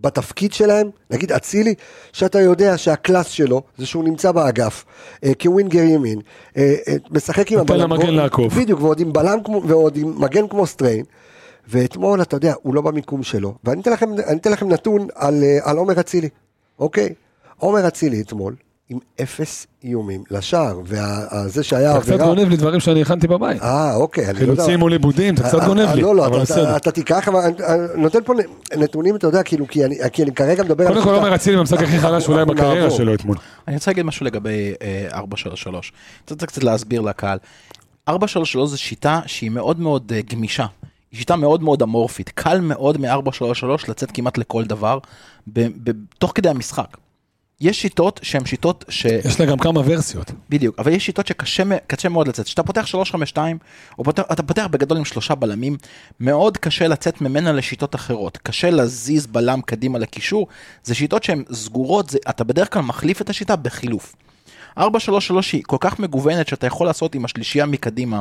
A: בתפקיד שלהם, נגיד אצילי, שאתה יודע שהקלאס שלו זה שהוא נמצא באגף, אה, כווינגר ימין, אה, אה, משחק עם
D: נותן למגן
A: ועוד-
D: לעקוף.
A: בדיוק, ועוד עם בלם כמו, ועוד עם מגן כמו סטריין. ואתמול, אתה יודע, הוא לא במיקום שלו. ואני אתן לכם, אני אתן לכם נתון על, אה, על עומר אצילי, אוקיי? עומר אצילי אתמול, עם אפס איומים לשער, וזה שהיה
D: אתה קצת גונב לי דברים שאני הכנתי בבית.
A: לא.
D: כאילו,
A: אה, אוקיי. אני לא יודע-
D: חילוצים מול עיבודים, אתה קצת
A: אה,
D: גונב
A: אה,
D: לי,
A: לא, לא,
D: אבל
A: אתה-
D: בסדר.
A: אתה- אתה תיקח, אבל אני- אני נותן פה נ- נתונים, אתה יודע, כאילו, כי אני כי אני כרגע מדבר... על
D: קודם כל
A: הקבוצה.
D: עומר אצילי במשחק הכי חלש אולי
A: אנחנו
D: בקריירה
A: נעבור.
D: שלו אתמול.
E: אני רוצה להגיד משהו לגבי אה, 433. אני רוצה קצת להסביר לקהל. 433 זו שיטה שהיא מאוד מאוד אה, גמישה. היא שיטה מאוד מאוד אמורפית. קל מאוד מ-433 לצאת כמעט לכל דבר, ב- ב- תוך כדי המשחק. יש שיטות שהן שיטות ש...
D: יש לה גם כמה ורסיות.
E: בדיוק, אבל יש שיטות שקשה מ- קשה מאוד לצאת. כשאתה פותח 352, או פותח, אתה פותח בגדול עם שלושה בלמים, מאוד קשה לצאת ממנה לשיטות אחרות. קשה להזיז בלם קדימה לקישור, זה שיטות שהן סגורות, זה, אתה בדרך כלל מחליף את השיטה בחילוף. 433 היא כל כך מגוונת שאתה יכול לעשות עם השלישייה מקדימה,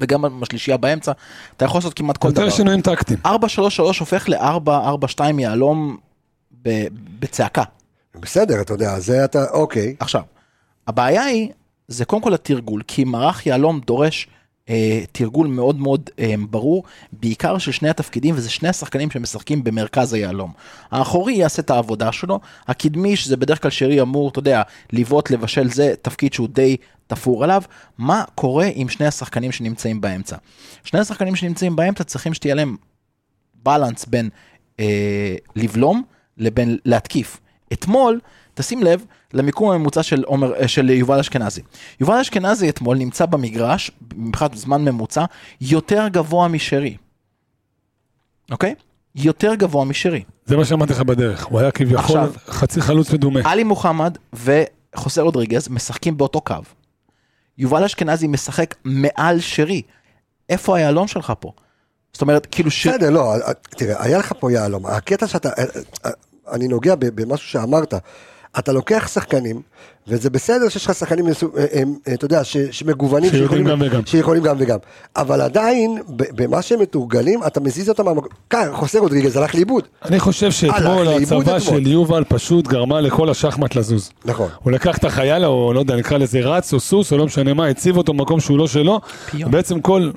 E: וגם עם השלישייה באמצע, אתה יכול לעשות כמעט כל דבר.
D: יותר שינויים טקטיים.
E: 433 הופך ל-442 יהלום ב- בצעקה.
A: בסדר, אתה יודע, זה אתה, אוקיי.
E: עכשיו, הבעיה היא, זה קודם כל התרגול, כי מערך יהלום דורש אה, תרגול מאוד מאוד אה, ברור, בעיקר של שני התפקידים, וזה שני השחקנים שמשחקים במרכז היהלום. האחורי יעשה את העבודה שלו, הקדמי, שזה בדרך כלל שרי אמור, אתה יודע, לבעוט, לבשל, זה תפקיד שהוא די תפור עליו. מה קורה עם שני השחקנים שנמצאים באמצע? שני השחקנים שנמצאים באמצע צריכים שתהיה להם בלנס בין אה, לבלום לבין להתקיף. אתמול, תשים לב למיקום הממוצע של, עומר, אה, של יובל אשכנזי. יובל אשכנזי אתמול נמצא במגרש, מבחינת זמן ממוצע, יותר גבוה משרי. אוקיי? יותר גבוה משרי.
D: זה מה שאמרתי לך בדרך. הוא היה כביכול
E: עכשיו.
D: חצי חלוץ מדומה.
A: אה,
E: עלי מוחמד וחוסה רודריגז משחקים באותו קו. יובל אשכנזי משחק מעל שרי. איפה היהלום שלך פה? זאת אומרת, כאילו ש...
A: בסדר, לא, אה, תראה, היה לך פה יהלום. הקטע שאתה, אה, אה, אני נוגע ב- במשהו שאמרת. אתה לוקח שחקנים, וזה בסדר שיש לך שחקנים, מסו- אה, אה, אה, אתה יודע, ש- שמגוונים,
D: שיודעים גם וגם.
A: שיכולים גם וגם, אבל עדיין, ב- במה שהם מתורגלים, אתה מזיז אותם מהמקום, כאן, חוסר רודריגז הלך לאיבוד,
D: אני חושב שאתמול
A: לאיבוד
D: הצבא
A: אתמול.
D: של יובל פשוט גרמה לכל השחמט לזוז.
A: נכון.
D: הוא לקח את החייל, או לא יודע, נקרא לזה רץ או סוס, או לא משנה מה, הציב אותו במקום שהוא לא שלו.
E: פיון.
D: בעצם כל,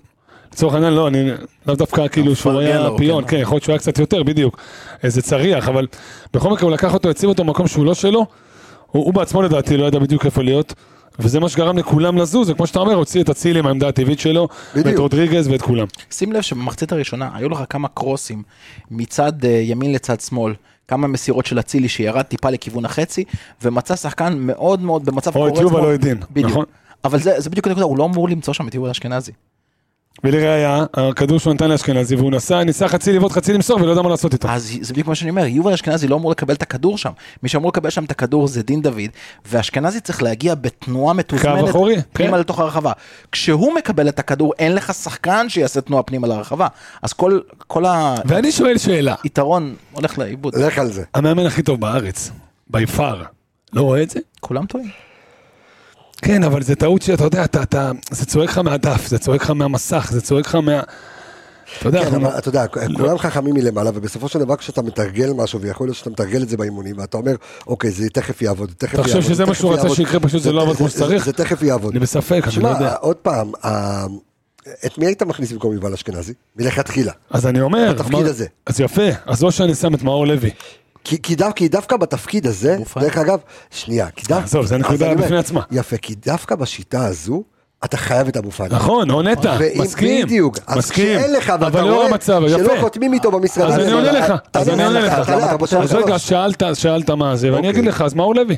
D: לצורך העניין, לא, אני לאו דווקא כאילו שהוא
E: מפרגן
D: היה
E: לו,
D: פיון,
E: כן.
D: כן, יכול להיות שהוא היה קצת יותר, בדיוק. איזה צריח, אבל בכל מקרה הוא לקח אותו, הציב אותו במקום שהוא לא שלו. הוא, הוא בעצמו לדעתי לא ידע בדיוק איפה להיות. וזה מה שגרם לכולם לזוז, וכמו שאתה אומר, הוציא את אצילי עם העמדה הטבעית שלו, ואת
A: בדיוק.
D: רודריגז ואת כולם.
E: שים לב שבמחצית הראשונה היו לך כמה קרוסים מצד אה, ימין לצד שמאל, כמה מסירות של אצילי שירד טיפה לכיוון החצי, ומצא שחקן מאוד מאוד במצב
D: או את
E: קורץ
D: יובל
E: מאוד-
D: או את דין,
E: בדיוק.
D: נכון?
E: אבל זה, זה בדיוק הנקודה, הוא לא אמור למצוא שם את יובל אשכנזי.
D: ולראיה, הכדור שהוא נתן לאשכנזי, והוא נסע, ניסה חצי לבעוט, חצי למסור, ולא יודע מה לעשות איתו.
E: אז זה בדיוק מה שאני אומר, יובל אשכנזי לא אמור לקבל את הכדור שם. מי שאמור לקבל שם את הכדור זה דין דוד, ואשכנזי צריך להגיע בתנועה מתוזמנת
D: אחורי, כן.
E: פנימה לתוך הרחבה. כשהוא מקבל את הכדור, אין לך שחקן שיעשה תנועה פנימה לרחבה. אז כל, כל
D: ואני שואל שאלה,
E: היתרון הולך לאיבוד.
A: לך על זה.
D: המאמן הכי טוב בארץ, by far, לא רואה את זה?
E: כולם טועים.
D: כן, אבל זה טעות שאתה יודע, אתה, אתה, זה צועק לך מהדף, זה צועק לך מהמסך, זה צועק לך מה... אתה יודע,
A: כן,
D: אנחנו-
A: אבל אתה יודע,
D: לא.
A: כולם חכמים מלמעלה, ובסופו של דבר כשאתה מתרגל משהו, ויכול להיות שאתה מתרגל את זה באימונים, ואתה אומר, אוקיי, זה תכף יעבוד, תכף
D: אתה
A: יעבוד.
D: חושב שזה מה
A: תכף
D: שהוא רצה
A: יעבוד."
D: שיקרה, פשוט זה לא עבד כמו שצריך?
A: זה תכף יעבוד.
D: אני בספק, אני לא יודע.
A: שמע, עוד פעם, ה- את מי היית מכניס במקום יובל אשכנזי? מלכתחילה.
D: אז אני אומר,
A: בתפקיד
D: אמר-
A: הזה.
D: אז יפה, אז או שאני שם את מאור לוי.
A: כי, כי, דו, כי דווקא בתפקיד הזה,
E: בופן.
A: דרך אגב, שנייה, כי דווקא...
D: עזוב, זה נקודה
A: אז אני אומר,
D: בפני עצמה.
A: יפה, כי דווקא בשיטה הזו, אתה חייב את אבו פאני.
D: נכון, או נטע,
A: ואם-
D: מסכים,
A: בדיוק, אז
D: מסכים,
A: כשאין לך, ואתה
D: אבל לאור
A: רואה
D: המצב,
A: שלא
D: יפה.
A: חותמים איתו במשרד.
D: אז אני עונה לך, אז אני עונה לך. לא- אז רגע, שאלת, שאלת מה זה, ואני
A: אוקיי.
D: אגיד לך, אז מאור לוי.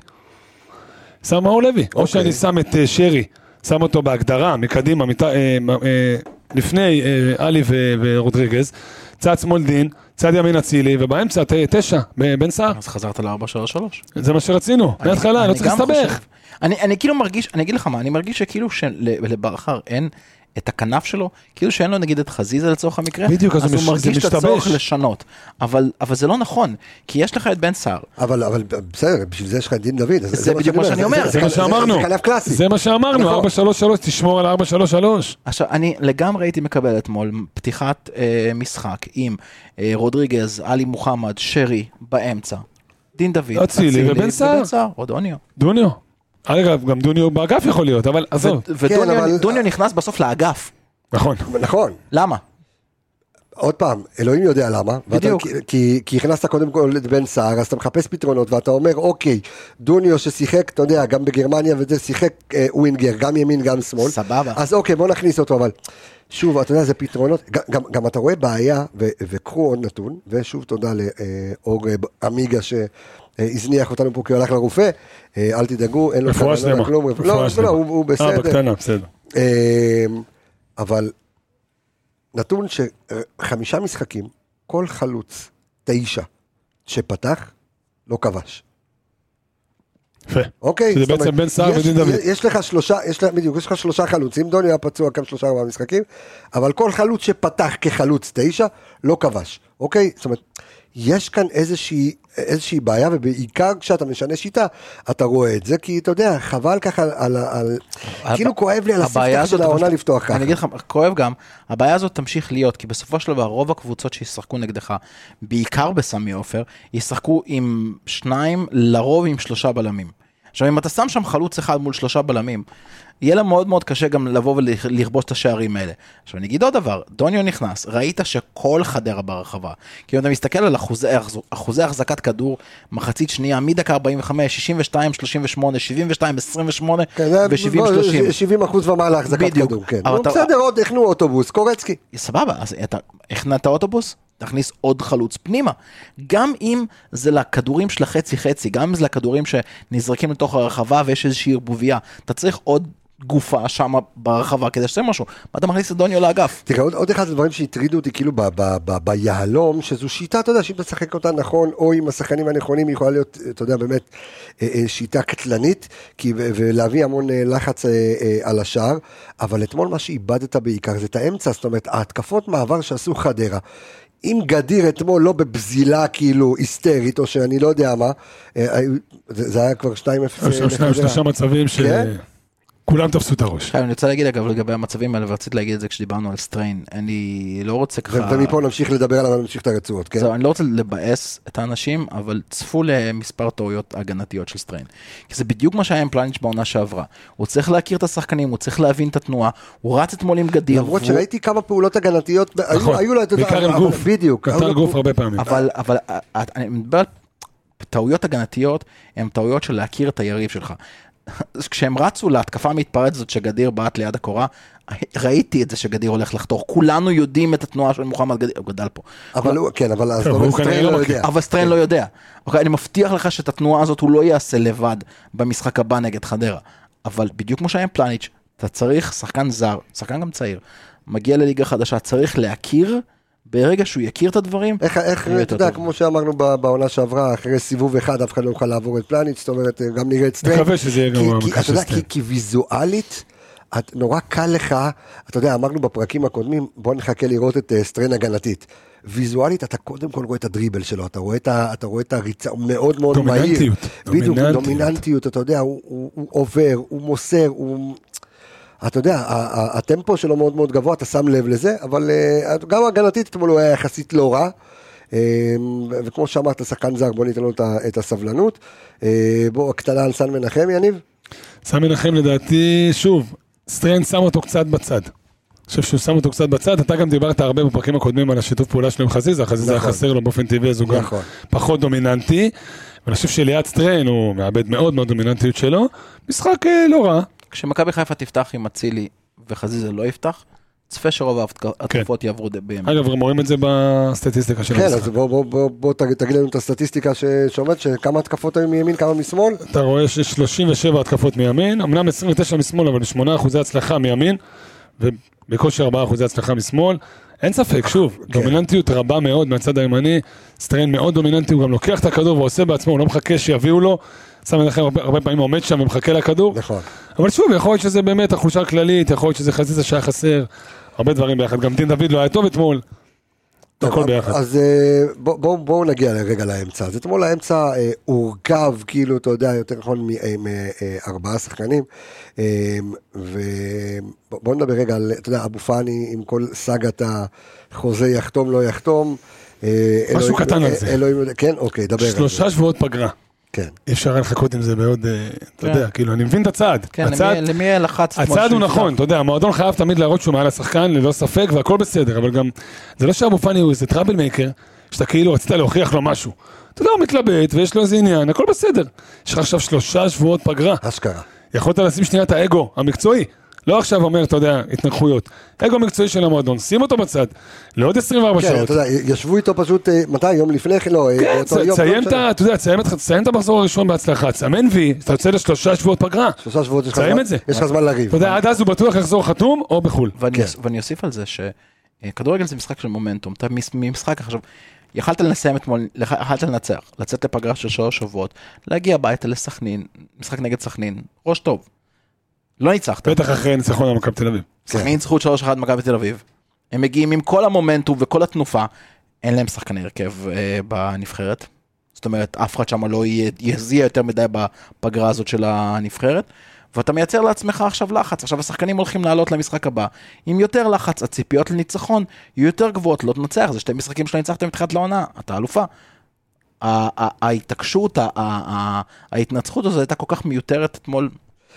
D: שם מאור לוי. או שאני שם את אה, שרי, שם אותו בהגדרה, מקדימה, מת- אה, מ- אה, לפני אה, עלי ו- ורודריגז, צד שמאל דין, צד ימין אצילי, ובאמצע ת- תשע, ב- בן סער.
E: אז חזרת ל-433.
D: זה מה שרצינו, מההתחלה, לא צריך להסתבך.
E: אני, אני כאילו מרגיש, אני אגיד לך מה, אני מרגיש שכאילו שלברכה אין את הכנף שלו, כאילו שאין לו נגיד את חזיזה לצורך המקרה,
D: בדיוק, אז הוא מש- זה
E: מרגיש את
D: משתבש.
E: הצורך לשנות, אבל, אבל זה לא נכון, כי יש לך את בן סער,
A: אבל, אבל בסדר, בשביל זה יש לך את דין דוד. אז
E: זה בדיוק מה שאני אומר.
D: זה מה שאמרנו.
A: זה כנף קלאסי.
D: זה מה שאמרנו,
A: נכון.
D: 433, תשמור על 433.
E: עכשיו, אני לגמרי הייתי מקבל אתמול פתיחת אה, משחק עם אה, רודריגז, עלי מוחמד, שרי באמצע, דין דוד,
D: אצילי ובן סער.
E: עוד אוניו.
D: דוניו. אגב, גם דוניו באגף יכול להיות, אבל עזוב.
E: ודוניו
A: אבל-
E: דוניו נכנס בסוף לאגף,
D: נכון.
A: נכון,
E: למה?
A: עוד פעם, אלוהים יודע למה. ואתה-
E: בדיוק.
A: כי- כי, כי הכנסת קודם כל את בן סער, אז אתה מחפש פתרונות, ואתה אומר, אוקיי, דוניו ששיחק, אתה יודע, גם בגרמניה וזה, שיחק אה, ווינגר, גם ימין, גם שמאל.
E: סבבה.
A: אז אוקיי, בוא נכניס אותו, אבל... שוב, אתה יודע, זה פתרונות, גם, גם, גם אתה רואה בעיה, ו- וקחו עוד נתון, ושוב תודה לאור עמיגה שהזניח אותנו פה כי הוא הלך לרופא, אה, אל תדאגו, אין לו
D: רפואה
A: כוונה,
D: שלמה.
A: כלום, רפואה-
D: רפואה
A: לא,
D: שלמה.
A: לא, הוא, הוא
D: אה,
A: בסדר,
D: בקטנה, בסדר.
A: אמ, אבל נתון שחמישה משחקים, כל חלוץ, תשע, שפתח, לא כבש.
D: יפה.
A: אוקיי?
D: שזה
A: זאת אומרת,
D: בעצם בן סער
A: יש-
D: ודין דוד.
A: יש לך שלושה, יש לך, בדיוק, יש לך שלושה חלוצים, דוני היה פצוע גם שלושה ארבעה משחקים, אבל כל חלוץ שפתח כחלוץ תשע, לא כבש. אוקיי? זאת אומרת, יש כאן איזושהי, איזושהי בעיה, ובעיקר כשאתה משנה שיטה, אתה רואה את זה, כי אתה יודע, חבל ככה על, על, על
E: הב-
A: כאילו כואב לי על
E: הבעיה
A: הספתח
E: הזאת,
A: של
E: אבל
A: העונה
E: שאתה-
A: לפתוח ככה.
E: אני אגיד לך, כואב גם, הבעיה הזאת תמשיך להיות, כי בסופו של דבר רוב הקבוצות שישחקו נגדך, בעיקר בסמי עופר, ישחקו עם שניים, לרוב עם שלושה בלמים. עכשיו אם אתה שם שם חלוץ אחד מול שלושה בלמים, יהיה לה מאוד מאוד קשה גם לבוא ולכבוש את השערים האלה. עכשיו אני אגיד עוד דבר, דוניו נכנס, ראית שכל חדרה ברחבה. כי אם אתה מסתכל על אחוזי, אחוזי החזקת כדור, מחצית שנייה, מדקה 45, 62, 38, 72, 28
A: כן,
E: ו-70,
A: לא,
E: 30.
A: 70 אחוז ומעלה החזקת
E: בדיוק.
A: כדור, כן.
E: אבל
A: נו,
E: אתה-
A: בסדר, עוד החנו אוטובוס, קורצקי.
E: סבבה, אז אתה הכנעת אוטובוס, תכניס עוד חלוץ פנימה. גם אם זה לכדורים של החצי-חצי, גם אם זה לכדורים שנזרקים לתוך הרחבה ויש איזושהי ערבוביה, אתה צריך עוד גופה שם ברחבה כדי שתעשה משהו. מה אתה מכניס את דוניו לאגף?
A: תראה, עוד, עוד אחד הדברים שהטרידו אותי כאילו ב, ב, ב, ביהלום, שזו שיטה, אתה יודע, שאם אתה משחק אותה נכון, או עם השחקנים הנכונים, היא יכולה להיות, אתה יודע, באמת אה, אה, שיטה קטלנית, כי, ו- ולהביא המון אה, לחץ אה, אה, על השער, אבל אתמול מה שאיבדת בעיקר זה את האמצע, זאת אומרת, ההתקפות מעבר שעשו חדרה. אם גדיר אתמול לא בבזילה כאילו היסטרית, או שאני לא יודע מה, אה, היו- זה זה היה כבר 2-0
D: יש שם שניים,
A: לחדרה.
D: אה, שלושה מצבים ש...
A: כן?
D: כולם תפסו את הראש.
E: עכשיו, אני רוצה להגיד אגב לגבי המצבים האלה, ורציתי להגיד את זה כשדיברנו על סטריין, אני לא רוצה ככה...
A: ו- ומפה נמשיך לדבר עליו, נמשיך את הרצועות, כן?
E: זהו, אני לא רוצה לבאס את האנשים, אבל צפו למספר טעויות הגנתיות של סטריין. כי זה בדיוק מה שהיה עם פלניץ' בעונה שעברה. הוא צריך להכיר את השחקנים, הוא צריך להבין את התנועה, הוא רץ אתמול עם גדיר.
A: למרות
E: והוא-
A: שראיתי כמה פעולות הגנתיות,
D: נכון.
A: היו- היו לה את
D: בעיקר עם
A: אבל-
D: גוף.
A: בדיוק. היו
D: קטר
A: לו-
D: גוף הרבה פעמים.
E: אבל, אבל אה, אה, אני מדבר על טעויות הגנתיות, הן טעויות של להכיר את היריב שלך. אז כשהם רצו להתקפה המתפרצת הזאת שגדיר בעט ליד הקורה, ראיתי את זה שגדיר הולך לחתור. כולנו יודעים את התנועה של מוחמד גדיר, הוא גדל פה.
A: אבל הוא, כן, אבל אז
D: טוב, הוא כנראה
A: סטריין
D: לא
A: לא
D: מכיר.
A: יודע.
E: אבל סטריין לא יודע. אוקיי, אני מבטיח לך שאת התנועה הזאת הוא לא יעשה לבד במשחק הבא נגד חדרה. אבל בדיוק כמו שהיה עם פלניץ', אתה צריך שחקן זר, שחקן גם צעיר, מגיע לליגה חדשה, צריך להכיר, ברגע שהוא יכיר את הדברים,
A: איך, איך,
E: יהיה
A: אתה
E: יותר
A: יודע,
E: טוב.
A: כמו שאמרנו ב- בעונה שעברה, אחרי סיבוב אחד אף אחד לא יוכל לעבור את פלניץ', זאת אומרת, אה, גם נראה את סטריין.
D: מקווה שזה יהיה גם
A: כי-
D: במקרה
A: כי-
D: של
A: אתה יודע,
D: סטריין.
A: כי- כי ויזואלית, את- נורא קל לך, אתה יודע, אמרנו בפרקים הקודמים, בוא נחכה לראות את אה, סטריין הגנתית. ויזואלית אתה קודם כל רואה את הדריבל שלו, אתה רואה את, ה- אתה רואה את הריצה, הוא מאוד מאוד
D: דומיננטיות.
A: מהיר. בדיוק,
D: דומיננטיות.
A: דומיננטיות, אתה יודע, הוא, הוא, הוא עובר, הוא מוסר, הוא... אתה יודע, ה- ה- הטמפו שלו מאוד מאוד גבוה, אתה שם לב לזה, אבל אה, גם הגנתית אתמול הוא היה יחסית לא רע. אה, ו- וכמו שאמרת, שחקן זר, בוא ניתן לו את ה- את הסבלנות. אה, בוא, הקטנה על סן מנחם, יניב.
D: סם מנחם לדעתי, שוב, סטריין שם אותו קצת בצד. אני חושב שהוא שם אותו קצת בצד, אתה גם דיברת הרבה בפרקים הקודמים על השיתוף פעולה שלו עם חזיזה, חזיזה היה
A: נכון.
D: חסר לו באופן טבעי, אז הוא גם
A: נכון.
D: פחות דומיננטי. ואני חושב שליד סטריין הוא מאבד מאוד מהדומיננטיות שלו. משחק אה, לא רע,
E: כשמכבי חיפה תפתח עם אצילי וחזיזה לא יפתח, צפה שרוב ההתק-
D: כן.
E: התקפות יעברו ד- בימין.
D: אגב, הם רואים את זה בסטטיסטיקה של
A: כן,
D: המשחק.
A: אז בוא- בוא- בוא בוא תג- תגיד לנו את הסטטיסטיקה ש- שאומרת, שכמה התקפות היו מימין, כמה משמאל.
D: אתה רואה ש-37 התקפות מימין, אמנם 29 משמאל, אבל 8 אחוזי הצלחה מימין, ובקושי 4 אחוזי הצלחה משמאל. אין ספק, שוב, דומיננטיות רבה מאוד מהצד הימני, סטריין מאוד דומיננטי, הוא גם לוקח את הכדור ועושה בעצמו, הוא לא מחכה שיביאו לו, סתם מנחם הרבה, הרבה פעמים עומד שם ומחכה לכדור.
A: נכון.
D: אבל שוב, יכול להיות שזה באמת החולשה הכללית, יכול להיות שזה חזיזה שהיה חסר, הרבה דברים ביחד. גם דין דוד לא היה טוב אתמול. הכל ביחד.
A: אז אה, בוא- בואו בוא נגיע לרגע לאמצע. אז אתמול האמצע אה, הורכב, כאילו, אתה יודע, יותר נכון, מארבעה שחקנים. אה, ובואו נדבר רגע על, אתה יודע, אבו פאני עם כל סאגת החוזה יחתום, לא יחתום. אה,
D: משהו
A: אלוהים-
D: קטן על
A: אה,
D: זה.
A: אלוהים יודע- כן, אוקיי, דבר על זה.
D: שלושה שבועות פגרה.
A: כן.
D: אי אפשר היה לחכות עם זה בעוד, אה, אתה יודע, כאילו, אני מבין את הצעד.
E: כן, למי-
D: הצעד-
E: למי לחץ? אתמול
D: הצעד הוא
E: שהוא
D: נכון,
E: יפתח?
D: אתה יודע, המועדון חייב תמיד להראות שהוא מעל השחקן, ללא ספק, והכל בסדר, אבל גם, זה לא שאבו פאני הוא איזה טראבל מייקר, שאתה כאילו רצית להוכיח לו משהו. אתה יודע, הוא מתלבט, ויש לו איזה עניין, הכל בסדר. יש לך עכשיו שלושה שבועות פגרה.
A: אשכרה.
D: יכולת לשים שנייה את האגו המקצועי. לא עכשיו אומר, אתה יודע, התנגחויות. אגו מקצועי של המועדון, שים אותו בצד, לעוד 24
A: כן,
D: שעות.
A: אתה יודע, ישבו איתו פשוט, אה, מתי? יום לפני כן? לא, אה,
D: כן,
A: באותו יום, לא
D: תסיים את
A: משנה.
D: ה... אתה יודע, תסיים את- תסיים את המחזור הראשון בהצלחה, תסמן וי, אתה יוצא לשלושה שבועות פגרה.
A: שלושה שבועות יש לך
D: תסיים
A: זמן-
D: את זה.
A: יש לך זמן לריב.
D: אתה יודע, עד אז הוא בטוח יחזור חתום או בחו"ל.
E: ואני,
A: כן.
E: אוס- ואני אוסיף על זה שכדורגל זה משחק של מומנטום, אתה מס- ממשחק עכשיו, יכלת לסיים אתמול, לח- יכלת לנצח, לצאת לפגרה של שלוש שבועות, להגיע הביתה לסכנין, משחק נגד סכנין, ראש טוב. לא ניצחת,
D: בטח אחרי ניצחון על מכבי תל אביב.
E: סכנין זכות 3-1 מכבי תל אביב, הם מגיעים עם כל המומנטום וכל התנופה, אין להם שחקני הרכב אה, בנבחרת. זאת אומרת, אף אחד שם לא יהיה- יזיע יותר מדי בפגרה הזאת של הנבחרת. ואתה מייצר לעצמך עכשיו לחץ, עכשיו השחקנים הולכים לעלות למשחק הבא. עם יותר לחץ, הציפיות לניצחון יהיו יותר גבוהות, לא תנצח, זה שתי משחקים שלא ניצחתם מתחילת לעונה, אתה אלופה. ה- ה- ההתעקשות, ה- ה- ה- ההתנצחות הזו הייתה כל כך מיותרת אתמול,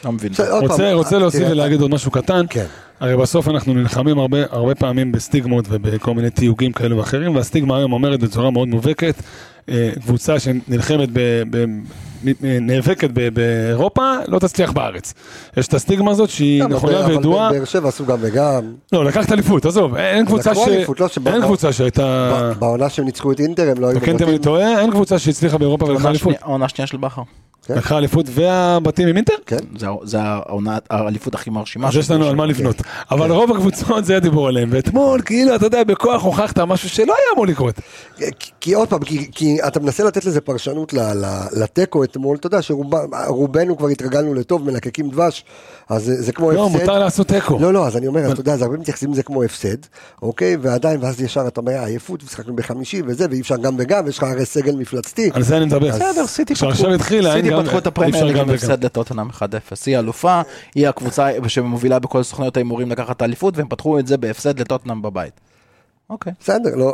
E: לא מבין.
A: בסדר, עוד
D: רוצה,
A: פעם,
D: רוצה
A: אה,
D: להוסיף
A: תראה,
D: ולהגיד עוד משהו קטן.
A: כן.
D: הרי בסוף אנחנו נלחמים הרבה, הרבה פעמים בסטיגמות ובכל מיני תיוגים כאלה ואחרים, והסטיגמה היום אומרת בצורה מאוד מובהקת, אה, קבוצה שנלחמת, ב, ב, מ- אה, נאבקת ב, באירופה, לא תצליח בארץ. יש את הסטיגמה הזאת שהיא
A: לא, אבל ב-
D: נכונה
A: אבל
D: וידועה.
A: באר שבע עשו גם וגם.
D: לא, לקחת אליפות, עזוב, אין קבוצה ש...
A: לקחו אליפות, לא שבא-
D: אין קבוצה שהייתה...
A: ב- בעונה שהם ניצחו את אינטר הם לא היו
D: תקן אותי אם אני
A: בבתים.
D: טועה, אין קבוצה שהצליחה באירופה ולקחה
E: עונה
D: אליפות.
E: שנייה- עונה שנייה של בכר.
A: כן.
D: לקחה אליפות והבתים עם אינטר?
A: כן.
E: זה, זה העונה, האליפות הכי מרשימה.
D: אז יש לנו על מה לבנות.
E: כן.
D: אבל רוב הקבוצות זה הדיבור עליהם, ואתמול כאילו, אתה יודע, בכוח הוכחת משהו שלא היה אמור לקרות.
A: אה, כי- כי עוד פעם, כי- כי אתה מנסה לתת לזה פרשנות ל- ל- לתיקו אתמול, אתה יודע שרובנו כבר התרגלנו לטוב, מלקקים דבש, אז זה זה כמו
D: לא,
A: הפסד.
D: מותר לעשות תיקו.
A: לא, לא, אז אני אומר, אתה יודע, אז הרבה מתייחסים לזה כמו הפסד, אוקיי? ועדיין, ואז ישר אתה אומר, "אה, עייפות, משחקנו בחמישי וזה, ואי אפשר גם וגם, ויש לך הרי סגל מפלצתי.
D: על זה אני מדבר.
E: בסדר, סיטי
D: עכשיו,
E: פתחו,
D: עכשיו התחילה, אין
E: סיטי
D: גם-
E: פתחו את
D: אי
E: הפרמייר
D: אפשר
E: ליג עם
D: גם וגם.
E: הפסד לטוטנאם 1-0. היא אלופה, היא הקבוצה שמובילה בכל סוכנויות ההימורים לקחת את האליפות, והם פתחו את זה בהפסד לטוטנאם בבית. אוקיי.
A: בסדר, לא,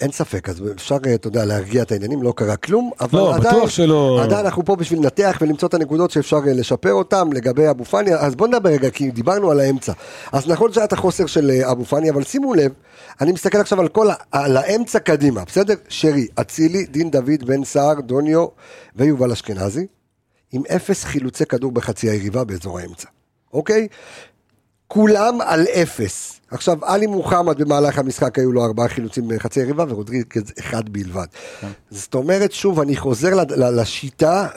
A: אין ספק, אז אפשר, אתה יודע, להרגיע את העניינים, לא קרה כלום, אבל
D: לא,
A: עדיין,
D: בטוח שלא.
A: עדיין אנחנו פה בשביל לנתח ולמצוא את הנקודות שאפשר אה, לשפר אותן לגבי אבו פאני, אז בוא נדבר רגע, כי דיברנו על האמצע. אז נכון שהיה את החוסר של אה, אבו פאני, אבל שימו לב, אני מסתכל עכשיו על כל, ה- על האמצע קדימה, בסדר? שרי, אצילי, דין דוד, בן סער, דוניו ויובל אשכנזי, עם אפס חילוצי כדור בחצי היריבה באזור האמצע, אוקיי? כולם על אפס. עכשיו, עלי מוחמד במהלך המשחק היו לו ארבעה חילוצים בחצי יריבה ורודריגז אחד בלבד.
D: כן.
A: זאת אומרת, שוב, אני חוזר לד- ל- לשיטה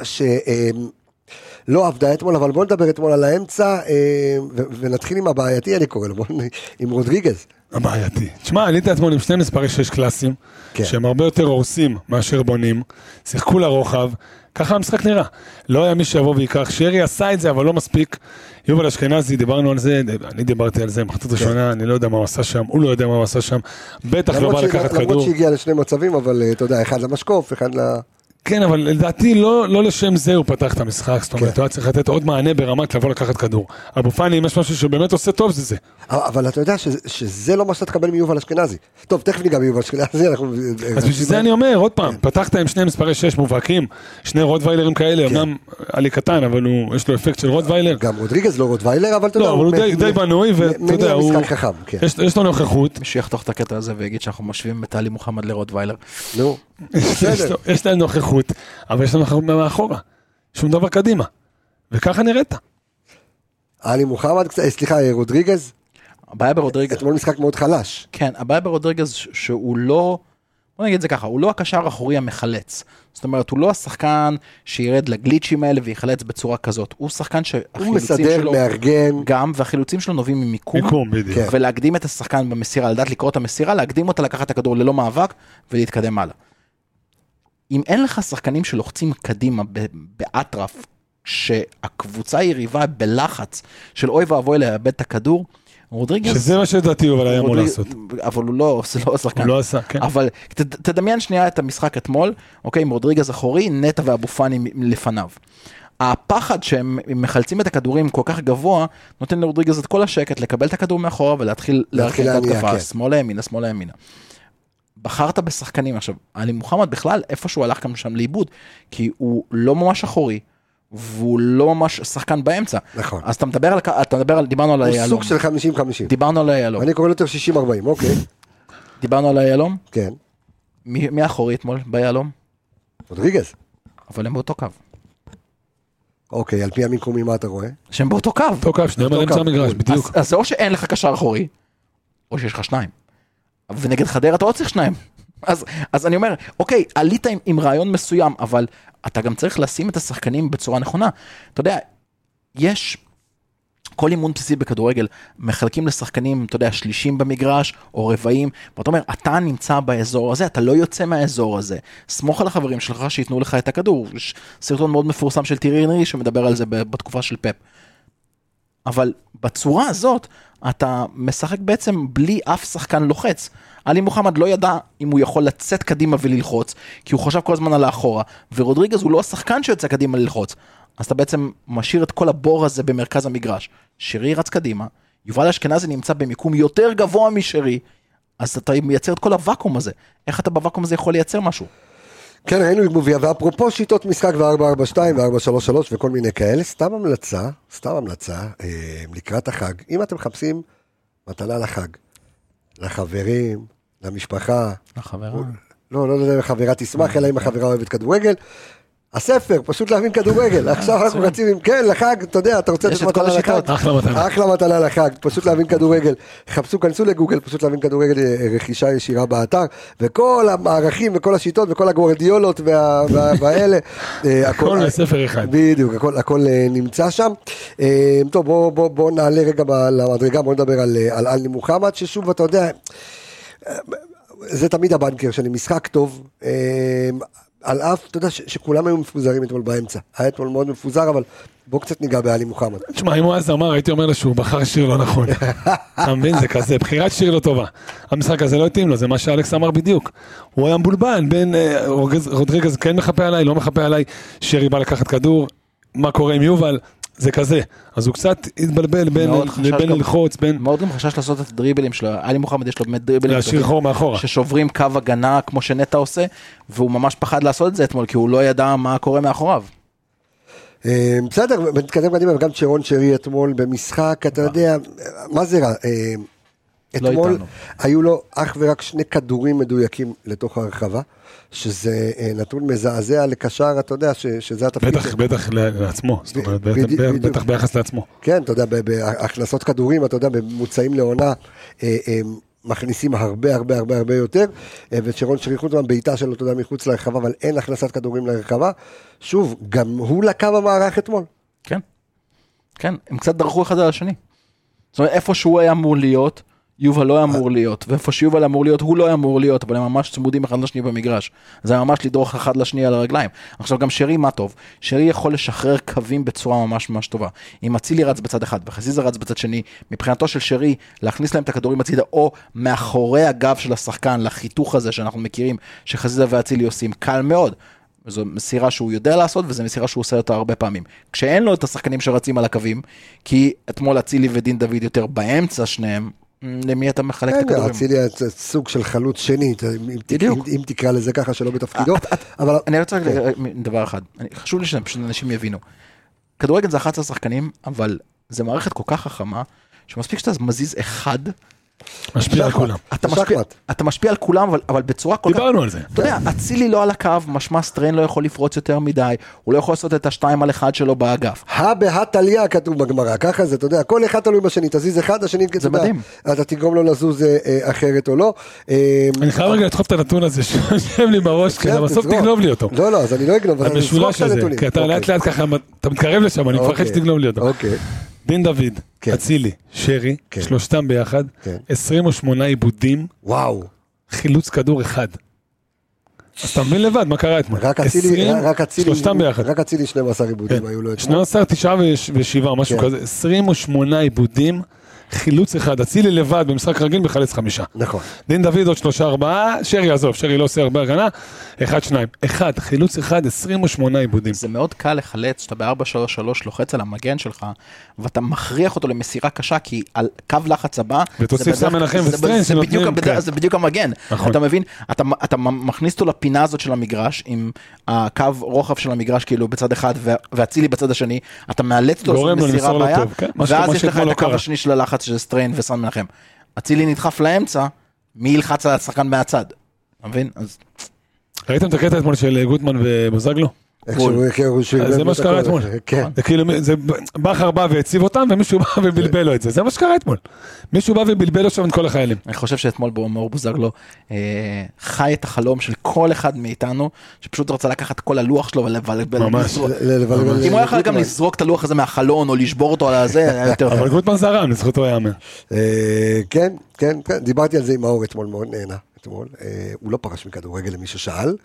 A: שלא עבדה אתמול, אבל בואו נדבר אתמול על האמצע אה, ו- ונתחיל עם הבעייתי, אני קורא לו, בואו נ- עם רודריגז.
D: הבעייתי. תשמע, עלית אתמול עם שני מספרי שש קלאסיים,
A: כן.
D: שהם הרבה יותר הורסים מאשר בונים, שיחקו לרוחב, ככה המשחק נראה. לא היה מי שיבוא וייקח, שרי עשה את זה, אבל לא מספיק. יובל אשכנזי, דיברנו על זה, אני דיברתי על זה מחצית
E: כן.
D: ראשונה, אני לא יודע מה הוא עשה שם, הוא לא יודע מה הוא עשה שם, בטח לא בא
A: למרות
D: לקחת
A: שהיא- למרות
D: כדור.
A: שהגיע לשני מצבים, אבל אה, אתה יודע, אחד למשקוף, אחד ל...
D: כן, אבל לדעתי לא, לא לשם זה הוא פתח את המשחק, זאת
A: כן.
D: אומרת, הוא היה צריך לתת עוד מענה ברמת לבוא לקחת כדור. אבו פאני, אם יש משהו שבאמת עושה טוב, זה זה.
A: כן, אבל אתה יודע שזה- שזה לא מה שאתה תקבל מיובל אשכנזי. טוב, תכף ניגע ביובל אשכנזי, אנחנו... אה,
D: אז בשביל זה אני אומר, עוד
A: כן.
D: פעם, פתחת עם שני מספרי 6 מובהקים, שני רוטוויילרים כאלה, אמנם עלי קטן, אבל הוא- יש לו אפקט של רוטוויילר.
A: כן. אה, גם רודריגז לא רוטוויילר, אבל אתה יודע,
D: לא, אבל הוא די-
A: מ-
D: די
A: מ-
D: בנוי, ואתה יודע,
A: מניע
D: הוא...
A: משחק חכם, כן.
D: יש- יש לו נוכחות,
E: מישהו יחתוך את הקטע הזה ויגיד שאנחנו משווים את טלי מוחמד לרוטוויילר.
A: נו.
D: יש לו- יש להם נוכחות, אבל יש להם נוכחות מאחורה, שום דבר קדימה. וככה נראית.
A: עלי מוחמד, קצת- אה, סליחה, אה, רודריגז,
E: הבעיה ברודריגז,
A: אתמול משחק מאוד חלש.
E: כן, הבעיה ברודריגז ש- שהוא לא, בוא נגיד את זה ככה, הוא לא הקשר האחורי המחלץ. זאת אומרת, הוא לא השחקן שירד לגליצ'ים האלה ויחלץ בצורה כזאת. הוא שחקן
A: הוא
E: שהחילוצים
A: מסדר,
E: שלו...
A: מארגן,
E: גם, והחילוצים שלו נובעים ממיקום,
D: מיקום, בדיוק.
A: כן.
E: ולהקדים את השחקן במסירה, לדעת לקרוא את המסירה, להקדים אותה, לקחת את הכדור ללא מאבק ולהתקדם הלאה. אם אין לך שחקנים שלוחצים קדימה ב- באטרף, שהקבוצה היריבה בלחץ של אוי ואבוי לאבד את הכדור, רודריגז...
D: שזה מה שלדעתי יובל היה אמור
A: לא-
E: רודריג-
D: לעשות.
E: אבל הוא לא, זה לא השחקן.
D: הוא לא עשה, כן.
E: אבל ת, תדמיין שנייה את המשחק אתמול, אוקיי, עם רודריגז אחורי, נטע ואבו פאני מ- לפניו. הפחד שהם מחלצים את הכדורים כל כך גבוה, נותן לרודריגז את כל השקט לקבל את הכדור מאחורה ולהתחיל
A: להתחיל
E: להרכיב את
A: להניע,
E: ההתקפה,
A: כן.
E: שמאלה ימינה, שמאלה ימינה. בחרת בשחקנים עכשיו, עלי מוחמד בכלל איפשהו הלך גם שם לאיבוד, כי הוא לא ממש אחורי, והוא לא ממש שחקן באמצע.
A: נכון.
E: אז אתה מדבר על, הכ- אתה מדבר על, דיברנו על
A: הוא
E: היהלום,
A: סוג של 50-50.
E: דיברנו על היהלום,
A: אני קורא לו יותר 60-40, אוקיי,
E: דיברנו על היהלום,
A: כן.
E: מי, מי אחורי אתמול ביהלום?
A: רודריגז.
E: אבל הם באותו קו.
A: אוקיי, על פי המיקומים מה אתה רואה?
E: שהם באותו קו.
D: אותו קו, שניהם על
A: אותו
D: אמצע
A: קו,
D: המגרש,
A: בול.
D: בדיוק.
E: אז, אז זה או שאין לך קשר אחורי, או שיש לך שניים. ונגד חדרה אתה עוד צריך שניים. אז, אז אני אומר, אוקיי, עלית עם, עם רעיון מסוים, אבל אתה גם צריך לשים את השחקנים בצורה נכונה. אתה יודע, יש כל אימון בסיסי בכדורגל, מחלקים לשחקנים, אתה יודע, שלישים במגרש, או רבעים, ואתה אומר, אתה נמצא באזור הזה, אתה לא יוצא מהאזור הזה. סמוך על החברים שלך שייתנו לך את הכדור. יש סרטון מאוד מפורסם של טירי אנרי שמדבר על זה ב- בתקופה של פאפ. אבל בצורה הזאת, אתה משחק בעצם בלי אף שחקן לוחץ. עלי מוחמד לא ידע אם הוא יכול לצאת קדימה וללחוץ, כי הוא חשב כל הזמן על האחורה, ורודריגז הוא לא השחקן שיוצא קדימה ללחוץ. אז אתה בעצם משאיר את כל הבור הזה במרכז המגרש. שרי רץ קדימה, יובל אשכנזי נמצא במיקום יותר גבוה משרי, אז אתה מייצר את כל הוואקום הזה. איך אתה בוואקום הזה יכול לייצר משהו?
A: כן, ראינו את גובייה, ואפרופו שיטות משחק ו-442 ו-433 וכל מיני כאלה, סתם המלצה, סתם המלצה, אה, לקראת החג, אם אתם מחפשים מתנה לחג, לחברים, למשפחה,
E: החברה.
A: לא, לא יודע אם החברה
E: אה,
A: תשמח,
E: כן.
A: אלא אם החברה אוהבת כדורגל, הספר, פשוט להבין כדורגל, עכשיו אנחנו רצים עם, כן, לחג, אתה יודע, אתה רוצה
E: אה, יש
A: לתת
E: את כל
A: מתנה לחג,
E: השיטות.
D: אחלה מתנה.
A: אחלה לא מתנה לחג, פשוט להבין כדורגל. חפשו, כנסו לגוגל, פשוט להבין כדורגל, אה, רכישה ישירה באתר, וכל המערכים וכל השיטות וכל הגוורדיולות וה- וה- והאלה, אה,
D: הכל בספר אחד.
A: בדיוק, הכל, הכל אה, נמצא שם. אה, טוב, בואו בוא, בוא נעלה רגע ב- למדרגה, בואו נדבר על אה, על עלי מוחמד, ששוב, אתה יודע, אה, זה תמיד הבנקר שלי, משחק טוב. אה, על אף, אתה יודע, ש- שכולם היו מפוזרים אתמול באמצע. היה אתמול מאוד מפוזר, אבל בואו קצת ניגע בעלי מוחמד.
D: תשמע, אם הוא היה זמר, הייתי אומר לו שהוא בחר שיר לא נכון. אתה מבין? זה כזה, בחירת שיר לא טובה. המשחק הזה לא התאים לו, זה מה שאלכס אמר בדיוק. הוא היה מבולבן בין אה, רוגז- רודריגז כן מחפה עליי, לא מחפה עליי, שרי בא לקחת כדור, מה קורה עם יובל, זה כזה. אז הוא קצת התבלבל בין
E: מאוד חשש
D: בין
E: גם-
D: ללחוץ, בין
E: מאוד גם חשש לעשות את הדריבלים שלו, עלי מוחמד יש לו באמת דריבלים.
D: להשאיר
E: טובים.
D: חור מאחורה.
E: ששוברים קו הגנה כמו שנטע עושה, והוא ממש פחד לעשות את זה אתמול, כי הוא לא ידע מה קורה מאחוריו.
A: אה, בסדר, ונתקדם קדימה, וגם צ'רון שרי אתמול במשחק, אתה יודע, מה זה רע? אה,
E: לא
A: אתמול
E: איתנו.
A: היו לו אך ורק שני כדורים מדויקים לתוך הרחבה, שזה אה, נתון מזעזע לקשר, אתה יודע, ש- שזה התפקיד
D: בטח,
A: שלו.
D: בטח ל- לעצמו, זאת אומרת,
A: בדי-
D: בטח-
A: בדיוק.
D: בטח ביחס לעצמו.
A: כן, אתה יודע, ב- בהכנסות כדורים, אתה יודע, בממוצעים לעונה, אה, אה, מכניסים הרבה הרבה הרבה הרבה יותר, אה, ושרון שרי חוטמן בעיטה שלו, אתה יודע, מחוץ לרחבה, אבל אין הכנסת כדורים לרחבה. שוב, גם הוא לקה במערך אתמול.
E: כן. כן, הם קצת דרכו אחד על השני. זאת אומרת, איפה שהוא היה אמור להיות, יובל לא היה אמור להיות, ואיפה שיובל אמור להיות, הוא לא היה אמור להיות, אבל הם ממש צמודים אחד לשני במגרש. זה היה ממש לדרוך אחד לשני על הרגליים. עכשיו גם שרי, מה טוב? שרי יכול לשחרר קווים בצורה ממש ממש טובה. אם אצילי רץ בצד אחד וחזיזה רץ בצד שני, מבחינתו של שרי, להכניס להם את הכדורים הצידה, או מאחורי הגב של השחקן, לחיתוך הזה שאנחנו מכירים, שחזיזה ואצילי עושים, קל מאוד. זו מסירה שהוא יודע לעשות, וזו מסירה שהוא עושה אותה הרבה פעמים. כשאין לו את השחקנים שרצים על הקווים, כי אתמול אצילי ודין דוד יותר באמצע שניהם, מ, למי אתה מחלק את
A: בסדר,
E: הכדורים?
A: אצילי כן, היה סוג של חלוץ שני, אתה- אם- אם-
E: בדיוק.
A: אם- אם תקרא לזה ככה שלא בתפקידו,
D: אה,
A: אבל
E: אני רוצה
A: כן.
E: רק ל- דבר אחד, אני- חשוב לי שפשוט אנשים יבינו. כדורגל זה 11 שחקנים, אבל זה מערכת כל כך חכמה, שמספיק שאתה מזיז אחד,
D: משפיע על כולם.
E: אתה
A: זה
E: משפיע-
A: שחמט.
E: אתה משפיע על כולם, אבל- אבל בצורה כל נכון. כך...
D: דיברנו על זה.
E: אתה יודע, אצילי לא על הקו, משמע סטריין לא יכול לפרוץ יותר מדי, הוא לא יכול לעשות את השתיים על אחד שלו באגף.
A: הא בהא תליא כתוב בגמרא, ככה זה, אתה יודע, כל אחד תלוי בשני, תזיז אחד, השני, אתה יודע,
E: מדהים.
A: אתה תגרום לו לזוז אה, אה, אחרת או לא. אה,
D: אני חייב רגע לדחוף את הנתון הזה שיושב לי בראש, כי אתה
A: כן,
D: בסוף
A: תזרוק.
D: תגנוב לי אותו.
A: לא, לא, אז אני לא אגנוב, אבל אני אזרוק
D: המשולש
A: את
D: הזה,
A: הנתונים.
D: כי אתה
A: אוקיי.
D: לאט לאט ככה, אתה מתקרב לשם, אני מפחד
A: אוקיי.
D: שתגנוב לי אותו.
A: אוקיי.
D: דין דוד,
A: כן.
D: אצילי, שרי,
A: כן.
D: שלושתם ביחד,
A: כן.
D: 28 עיבודים,
A: וואו.
D: חילוץ כדור אחד. אז אתה מבין לבד מה קרה אתמול.
A: רק אצילי,
D: 20,
A: רק אצילי,
D: שלושתם ביחד.
A: רק אצילי 12 עיבודים
D: כן.
A: היו לו אתמול.
D: 12, 9 ו-7, משהו
A: כן.
D: כזה. 28 עיבודים, חילוץ אחד. אצילי לבד במשחק רגיל מחלץ חמישה.
A: נכון.
D: דין דוד עוד שלושה ארבעה, שרי עזוב, שרי לא עושה הרבה הגנה, אחד שניים. אחד, חילוץ אחד, 28 עיבודים.
E: זה מאוד קל לחלץ, שאתה ב-4-3-3 לוחץ על המגן שלך, ואתה מכריח אותו למסירה קשה, כי על קו לחץ הבא,
D: ותוסיף
E: זה בדרך-
D: סאן מנחם
E: זה-
D: וסטרנס
E: זה בדיוק
D: שנותנים,
E: הבד-
D: כן.
E: זה בדיוק המגן.
D: נכון.
E: אתה מבין? אתה אתה מכניס אותו לפינה הזאת של המגרש, עם הקו רוחב של המגרש כאילו בצד אחד, ו- ואצילי בצד השני, אתה מאלץ אותו
D: גורם לו למסור לו
E: בעיה,
D: טוב, כן. מה ש-
E: ואז
D: מה
E: יש לך
D: שאתמול
E: את
D: לא
E: הקו
D: קרה.
E: השני של הלחץ, שזה סטריין וסאן מנחם. אצילי נדחף לאמצע, מי ילחץ על השחקן מהצד? אתה מבין? אז
D: ראיתם את הקטע אתמול של אה, גוטמן ובוזגלו?
A: איך שהוא הכירו שהוא...
D: אה, זה מה שקרה אתמול.
A: כן.
D: זה כאילו, מי- זה בכר בא והציב אותם, ומישהו בא ובלבל לו את זה. זה מה שקרה אתמול. מישהו בא ובלבל לו שם את כל החיילים.
E: אני חושב שאתמול בו- מאור בוזגלו אה, חי את החלום של כל אחד מאיתנו, שפשוט רצה לקחת כל הלוח שלו ולבלבל.
D: ממש.
E: לזרוק.
A: ל- ל- לבלבל-
E: אם הוא היה יכול גם
A: לגוטמן.
E: לזרוק את הלוח הזה מהחלון או לשבור אותו על הזה, היה יותר
A: כן.
D: אבל גוטמן זרם, לזכותו ייאמר.
A: אה, כן, כן, כן, דיברתי על זה עם מאור אתמול, מאוד נהנה אתמול. אה, הוא לא פרש מכדורגל למי ששאל.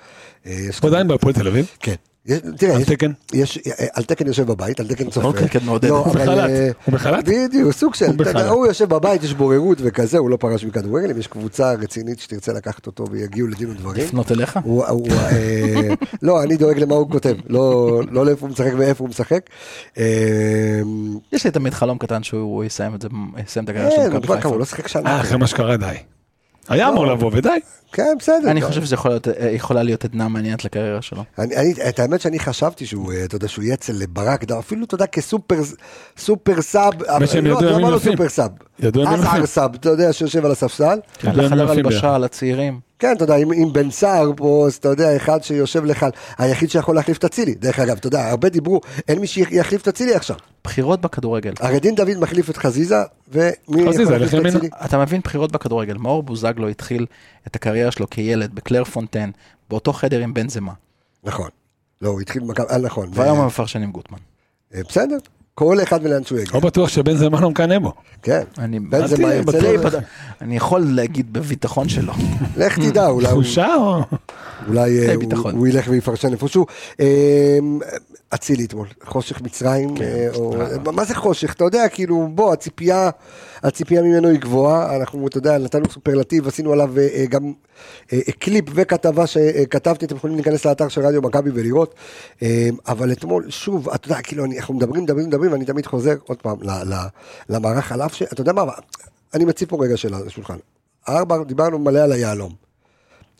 A: אה, יש
D: הוא עדיין בהפועל תל אביב.
A: כן. יש- תראה,
D: על
A: יש-
D: תקן?
A: יש, אה, על תקן יושב בבית, על תקן צופה.
E: אוקיי, כן, מעודד.
A: לא,
E: הוא
A: אבל,
D: בחל"ת.
A: אה,
D: הוא בחל"ת?
A: בדיוק, סוג של,
D: הוא בחל"ת.
A: אתה- הוא יושב בבית, יש בוררות וכזה, הוא לא פרש מכדורגל, אם יש קבוצה רצינית שתרצה לקחת אותו ויגיעו לדין ודברים.
E: לפנות אליך.
A: הוא, הוא, אה, לא, אני דואג למה הוא כותב, לא, לא לאיפה הוא משחק ואיפה הוא משחק. אה,
E: יש לי תמיד חלום קטן שהוא יסיים את זה, יסיים את הקריירה
A: כן,
E: של
A: הוא
E: מכבי
A: כבר כמה,
E: חיפה.
A: הוא לא שיחק שנה.
D: אה, אחרי מה שקרה די. היה אמור
A: לא.
D: לבוא ודי.
A: כן, בסדר.
E: אני
A: לא.
E: חושב שזה יכול להיות- אה, יכולה להיות עדנה מעניינת לקריירה שלו.
A: אני, אני, את האמת שאני חשבתי שהוא, אה, אתה יודע, שהוא יהיה אצל ברק, דר, אפילו, אתה יודע, כסופר סופר סאב, אבל
D: שהם
A: לא,
D: ידעו
A: אתה יודע
D: ימים
A: מה לא
D: יפים.
A: סופר סאב,
D: ידעו ימים
A: אז
D: יפים.
A: הר סאב, אתה יודע, שיושב על הספסל,
E: על
D: הם
E: החדר
D: יפים כן, ביחד.
E: הלבשה, על הצעירים.
A: כן, אתה יודע, עם, עם בן סער פה, אז אתה יודע, אחד שיושב לך, היחיד שיכול להחליף את אצילי, דרך אגב, אתה יודע, הרבה דיברו, אין מי שיחליף את אצילי עכשיו,
E: בחירות בכדורגל.
D: אה.
A: הרי דין דוד מחליף את חזיזה, ומי
D: חזיזה,
A: יכול להחליף את
D: לחמין.
A: אצילי?
E: אתה מבין בחירות בכדורגל, מאור בוזגלו התחיל את הקריירה שלו כילד בקלר פונטן, באותו חדר עם בנזמה,
A: נכון, לא, הוא התחיל במכבי, אה, נכון,
E: והיום הם מפרשנים גוטמן.
A: אה, בסדר, כל אחד ולאן שהוא יגיע,
D: לא בטוח שבן זמן לא מקנא בו.
A: כן,
E: אני-
A: בן
E: אל
A: זה מה
D: תהיה
A: ירצה,
D: בטוח.
A: לא-
E: אני יכול להגיד בביטחון שלא.
A: לך תדע, אולי הוא...
D: תחושה או...
A: אולי אה,
E: זה
A: הוא-
E: ביטחון.
A: הוא ילך ויפרשן איפשהו. אה, אצילי אתמול, חושך מצרים, אה, או- מה זה חושך? אתה יודע, כאילו, בוא, הציפייה, הציפייה ממנו היא גבוהה, אנחנו, אתה יודע, נתנו סופרלטיב, עשינו עליו אה, אה, גם אה, אה, קליפ וכתבה שכתבתי, אתם יכולים להיכנס לאתר של רדיו מכבי ולראות, אה, אבל אתמול, שוב, אתה יודע, כאילו, אני- אנחנו מדברים, מדברים, מדברים, ואני תמיד חוזר עוד פעם ל- ל- למערך, על אף ש... אתה יודע מה, אני מציב פה רגע של השולחן. ארבע, דיברנו מלא על היהלום.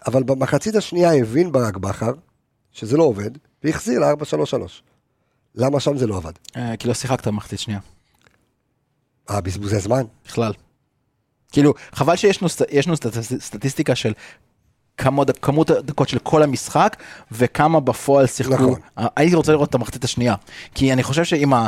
A: אבל במחצית השנייה הבין ברק בכר שזה לא עובד, והחזיר ל-4-3-3. למה שם זה לא עבד?
E: אה, כי לא שיחקת מחצית שנייה,
A: אה, בזבוזי זמן?
E: בכלל. כאילו, חבל שיש לנו סט- יש לנו סטט- סטטיסטיקה של כמה דק- כמות הדקות של כל המשחק, וכמה בפועל שיחקו.
A: נכון.
E: אה, הייתי רוצה לראות את המחצית השנייה, כי אני חושב שעם ה-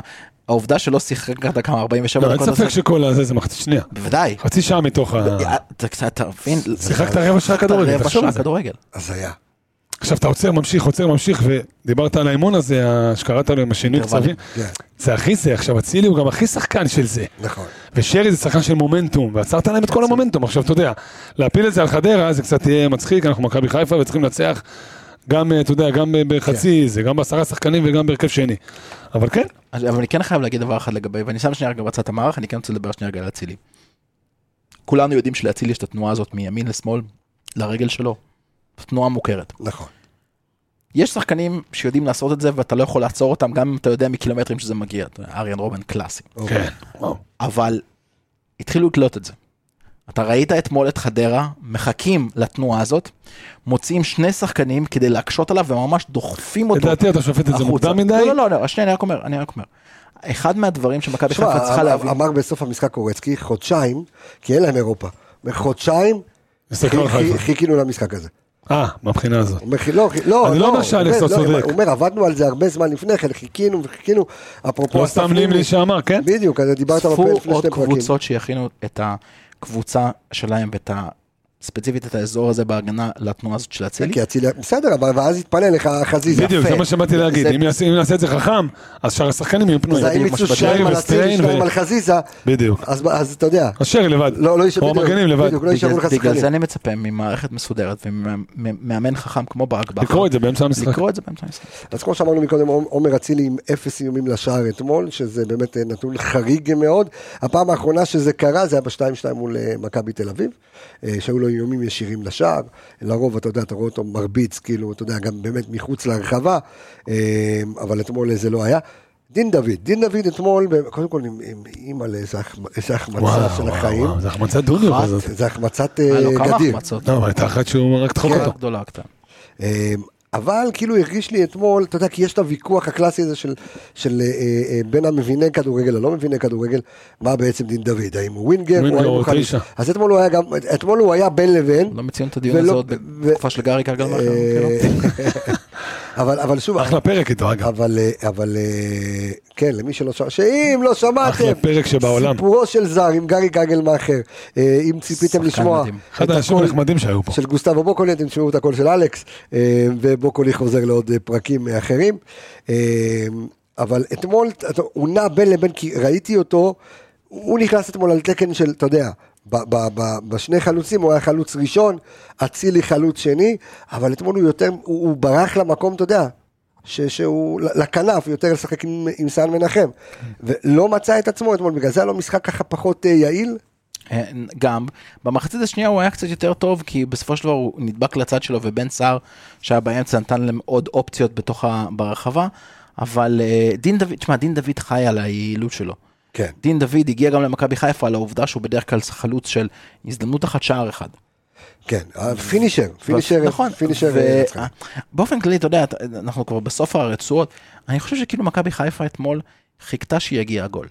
E: העובדה שלא שיחקת כמה 47
D: לא, אין
E: דקות,
D: ספק
E: אז-
D: שכל הזה זה מחצית שנייה.
E: בוודאי. אה,
D: חצי שעה מתוך
A: אה,
D: ה...
E: אתה קצת, אתה מבין?
D: שיחקת רבע שעה כדורגל,
E: רבע
D: תחשוב
E: שעה
D: על זה.
E: כדורגל.
A: אז היה.
D: עכשיו אתה עוצר, ממשיך, עוצר, ממשיך, ודיברת על האימון הזה, ה- שקראת לו עם השינוי
E: אינטרוולים.
D: קצבים.
A: כן,
D: זה הכי זה, עכשיו אצילי הוא גם הכי שחקן של זה.
A: נכון.
D: ושרי זה שחקן של מומנטום, ועצרת להם את כל המומנטום. עכשיו, אתה יודע, להפיל את זה על חדרה זה קצת יהיה מצחיק, אנחנו מכבי חיפה וצריכים לנצח גם, אה, אתה יודע, גם ב-
E: כן.
D: בחצי זה, גם בעשרה שחקנים וגם בהרכב שני. אבל כן,
E: אז- אבל אני כן חייב להגיד דבר אחד לגבי, ואני שם שנייה רגע בצד את המערך, אני כן רוצה לדבר שנייה רגע על אצילי. כולנו יודעים שלאצילי יש את התנועה הזאת מימין לשמאל, לרגל שלו. זו תנועה מוכרת.
A: נכון.
E: יש שחקנים שיודעים לעשות את זה ואתה לא יכול לעצור אותם, גם אם אתה יודע מקילומטרים שזה מגיע. אתה יודע, אריאן רובן קלאסי.
A: אוקיי.
D: כן, וואו.
E: אבל התחילו לתלות את זה. אתה ראית אתמול את חדרה, מחכים לתנועה הזאת, מוציאים שני שחקנים כדי להקשות עליו וממש דוחפים אותו.
D: לדעתי אתה שופט את זה
E: החוצה.
D: מוקדם מדי.
E: לא, לא, לא, שנייה, אני רק אומר, אני רק אומר. אחד מהדברים שמכבי
A: תשמע,
E: חיפה צריכה
A: אמר-
E: להבין,
A: אמר בסוף המשחק קורצקי, חודשיים, כי אין להם אירופה. אומר, חודשיים,
D: מסתכלו על
A: חי-
D: חיפה.
A: חי- חיכינו למשחק הזה.
D: אה, מהבחינה הזאת.
A: הוא אומר, לא, לא,
D: אני לא אומר שאלכס
A: הוא
D: לא
A: אומר,
D: צודק.
A: הוא אומר, עבדנו על זה הרבה זמן לפני כן, חיכינו וחיכינו. אפרופו...
D: לא
A: אסף
D: סתם לימלי שאמר, כן?
A: בדיוק, אז דיברת בפרק
E: צפו
A: לפני
E: עוד
A: שני פרקים.
E: קבוצות שיכינו את הקבוצה שלהם ואת ספציפית את האזור הזה בהגנה לתנועה הזאת של אצילי.
A: כי אצילי, בסדר, אבל ואז יתפנה לך חזיזה.
D: בדיוק, זה מה שבאתי להגיד,
E: זה-
D: אם יעשה- אם נעשה את זה חכם, אז שאר השחקנים יהיו
A: אז
D: פנויים.
A: האם
D: בדיוק,
A: יצאו
D: מה
A: שניים
D: שבשרי
A: על אצילי,
D: וסטריין
A: שניים
D: ו-
A: על חזיזה,
D: בדיוק.
A: אז- אז אתה יודע.
D: אז שרי לבד.
A: לא, לא יישאר
D: או המגנים לבד.
A: בדיוק, לא יישארו לך
E: בגלל- בגלל זה
A: שחקנים.
E: אני מצפה ממערכת מסודרת ומאמן חכם כמו ברק בכר.
D: לקרוא את זה באמצע המשחק.
E: לקרוא את זה באמצע המשחק.
A: אז כמו שאמרנו מקודם, עומר אצילי עם אפס איומים לשער אתמול, שזה באמת אה, נתון חריג מאוד. הפעם האחרונה שזה קרה זה היה ב-2-2 מול אה, מכבי תל אביב, אה, שהיו לו איומים ישירים לשער. לרוב, אתה יודע, אתה רואה אותו מרביץ, כאילו, אתה יודע, גם באמת מחוץ להרחבה, אה, אבל אתמול זה לא היה. דין דוד, דין דוד אתמול, ב- קודם כל עם- עם אימא לאיזה החמ- איזה החמצה של החיים.
D: זה החמצת דודו
E: אחת.
D: כזאת.
A: זה החמצת אה,
E: היה לו כמה
A: גדיר.
E: החמצות.
D: לא, אבל הייתה אחת שהוא רק
A: כן.
D: תחוק
E: גדולה,
D: אותו.
E: גדולה קטנה.
A: אמ, אבל כאילו הרגיש לי אתמול, אתה יודע, כי יש את הוויכוח הקלאסי הזה של, של אה, אה, בין המביני כדורגל ללא מביני כדורגל, מה בעצם דין דוד, האם הוא ווינגר,
D: ווינגר
A: או האם
D: או
A: הוא חלוץ.
D: תשע.
A: אז אתמול הוא היה גם, אתמול הוא היה בין לבין,
E: לא מציון את הדיון
A: ולא-
E: הזה עוד
A: ו-
E: בתקופה של גארי
A: אה,
E: קרגלמר. כן, לא?
A: אבל, אבל שוב,
D: אחלה פרק איתו, אגב.
A: אבל, אה, אבל אה, כן, למי שלא שמע, שאם לא שמעתם,
D: אחלה פרק שבעולם.
A: סיפורו של זר עם גארי גגלמאכר, אה, אם ציפיתם
E: שחקן
A: לשמוע
E: מדהים.
D: אחד האנשים
A: הקול-
D: הנחמדים שהיו פה.
A: של גוסטבו בוקולי, אתם תשמעו את הקול של אלכס, אה, ובוקולי חוזר לעוד אה, פרקים אה, אחרים. אה, אבל אתמול אתה- הוא נע בין לבין, כי ראיתי אותו, הוא נכנס אתמול על תקן של, אתה יודע, ב- ב- ב- בשני חלוצים הוא היה חלוץ ראשון, אצילי חלוץ שני, אבל אתמול הוא יותר, הוא הוא ברח למקום, אתה יודע. ש- שהוא ל- לכנף יותר לשחק עם, עם סאן מנחם
E: כן.
A: ולא מצא את עצמו אתמול בגלל זה היה לו משחק ככה פחות אה, יעיל
E: אה, גם. במחצית השנייה הוא היה קצת יותר טוב, כי בסופו של דבר הוא נדבק לצד שלו, ובן סער, שהיה באמצע, נתן להם עוד אופציות בתוך ה... ברחבה. אבל אה, דין דוד, תשמע, דין דוד חי על היעילות שלו.
A: כן
E: דין דוד הגיע גם למכבי חיפה על העובדה שהוא בדרך כלל חלוץ של הזדמנות אחת שער אחד.
A: כן פינישר פינישר
E: נכון.
A: פינישר
E: ו-
A: אה, נצחי.
E: באופן כללי, אתה יודע, אתה- אנחנו כבר בסוף הרצועות, אני חושב שכאילו מכבי חיפה אתמול חיכתה שיגיע הגול.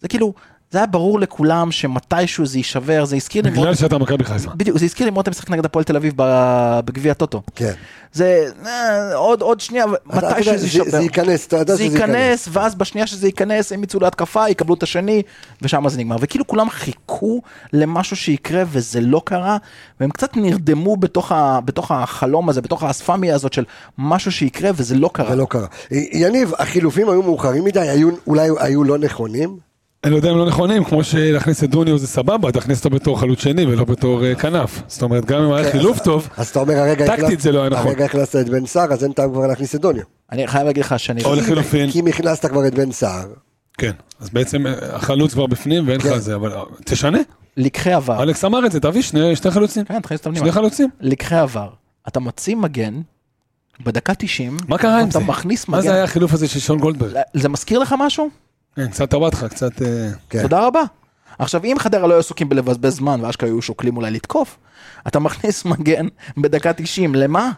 E: זה כאילו, זה היה ברור לכולם שמתישהו זה יישבר, זה הזכיר לי מאוד,
D: בגלל שאתה מכבי חיפה.
E: בדיוק, זה הזכיר לי מאוד את המשחק נגד הפועל תל אביב ב- בגביע הטוטו.
A: כן.
E: זה אה, עוד עוד שנייה, אבל
A: אתה- אתה
E: מתישהו
A: יודע,
E: זה
A: זה-
E: יישבר.
A: זה ייכנס, אתה יודע
E: זה
A: שזה ייכנס.
E: ייכנס, ואז בשנייה שזה ייכנס, הם יצאו להתקפה, יקבלו את השני, ושם זה נגמר. וכאילו כולם חיכו למשהו שיקרה, וזה לא קרה, והם קצת נרדמו בתוך ה- בתוך החלום הזה, בתוך האספמיה הזאת של משהו שיקרה, וזה לא קרה.
A: זה לא קרה. י- יניב, החילופים היו מאוחרים מדי, היו, אולי היו לא נכונים?
D: אני לא יודע אם לא נכונים, כמו שלהכניס את דוניו זה סבבה, תכניס אותו בתור חלוץ שני ולא בתור אה, כנף. זאת אומרת, גם אם היה חילוף טוב,
A: כן, אז אתה אומר, הרגע
D: טקטית
A: הכנסת-
D: זה לא היה נכון.
A: הרגע הכנסת את בן סער, אז אין טעם כבר להכניס את דוניו.
E: אני חייב להגיד לך שאני...
D: או לחילופין,
A: כי אם הכנסת כבר את בן סער,
D: כן. אז בעצם אה, החלוץ כבר בפנים ואין לך
A: כן. אה.
D: זה, אבל אה, תשנה.
E: לקחי עבר.
D: אלכס אמר את זה, תביא שני שני חלוצים.
E: כן, תכניס אותם
D: שני
E: פנימה.
D: חלוצים.
E: לקחי עבר. אתה מוציא מגן, בדקה 90,
D: מה קרה עם זה?
E: אתה מכניס
D: מה זה
E: מגן.
D: היה החילוף הזה של שון גולדברג?
E: זה מזכיר לך משהו?
D: כן, קצת טבעת קצת... אה,
A: כן.
E: תודה רבה. עכשיו, אם חדרה לא היו עסוקים בלבזבז זמן, ואשכרה היו שוקלים אולי לתקוף, אתה מכניס מגן בדקה 90, למה?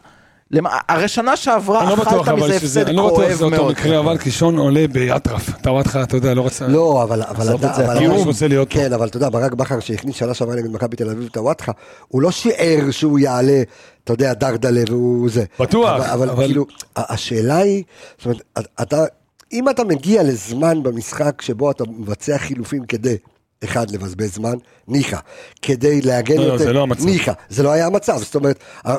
E: למה? הרי שנה
D: אני
E: שעברה
D: לא
E: אכלת
D: בטוח
E: מזה
D: אבל שזה,
E: הפסד
D: אני לא בטוח
E: כואב
D: שזה אותו
E: מאוד.
D: מקרה, אבל קישון עולה באטרף. טבעת אתה יודע, לא רצה...
A: לא, אבל... אבל
E: עזוב
A: אתה-
E: את זה,
A: אבל- אבל-
E: כי
D: הוא כאילו רוצה להיות פה.
A: כן, אבל אתה יודע, ברק בכר שהכניס שנה שעברה נגד מכבי תל אביב את הוואטחה, הוא לא שיער שהוא יעלה, אתה יודע, דרדלה והוא זה.
D: בטוח,
A: אבל- אבל
D: אבל-
A: כאילו, ה- השאלה היא, זאת אומרת, אתה... אם אתה מגיע לזמן במשחק שבו אתה מבצע חילופים כדי... אחד, לבזבז זמן, ניחא. כדי להגן
D: לא, לא,
A: יותר,
D: זה לא המצב.
A: ניחא. זה לא היה המצב, זאת אומרת, ה-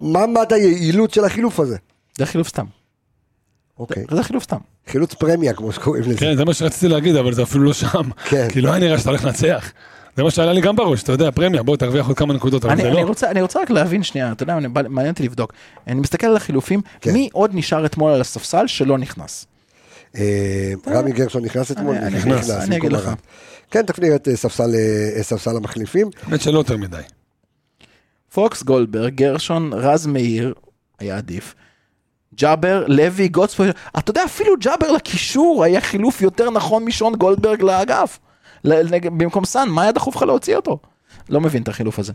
A: מה מד היעילות של החילוף הזה?
E: זה חילוף סתם.
A: אוקיי.
E: זה חילוף סתם.
A: חילוץ פרמיה, כמו שקוראים לזה.
D: כן, זה מה שרציתי להגיד, אבל זה אפילו לא שם.
A: כן.
D: כי לא היה נראה שאתה הולך לנצח. זה מה שעלה לי גם בראש, אתה יודע, פרמיה, בוא תרוויח עוד כמה נקודות, אבל
E: אני,
D: זה
E: אני,
D: לא.
E: רוצה, אני רוצה רק להבין שנייה, אתה יודע, אני- מעניין אותי לבדוק. אני מסתכל על החילופים,
A: כן.
E: מי עוד נשאר אתמול על הספסל שלא נכנס?
A: אה, רמי גרשון נכנס אתמול,
E: אני- אני
A: נכנס,
E: נכנס,
A: נכנס,
E: אני אגיד
A: במקום
E: לך.
A: הרן. כן, תכף נראה את אה, ספסל, אה, ספסל המחליפים.
D: האמת שלא יותר מדי.
E: פוקס, גולדברג, גרשון, רז מאיר, היה עדיף. ג'אבר, לוי, גוטספויל, אתה יודע, אפילו ג'אבר לקישור היה חילוף יותר נכון משון גולדברג לאגף. ל- נג- במקום סאן, מה היה דחוף לך להוציא אותו? לא מבין את החילוף הזה.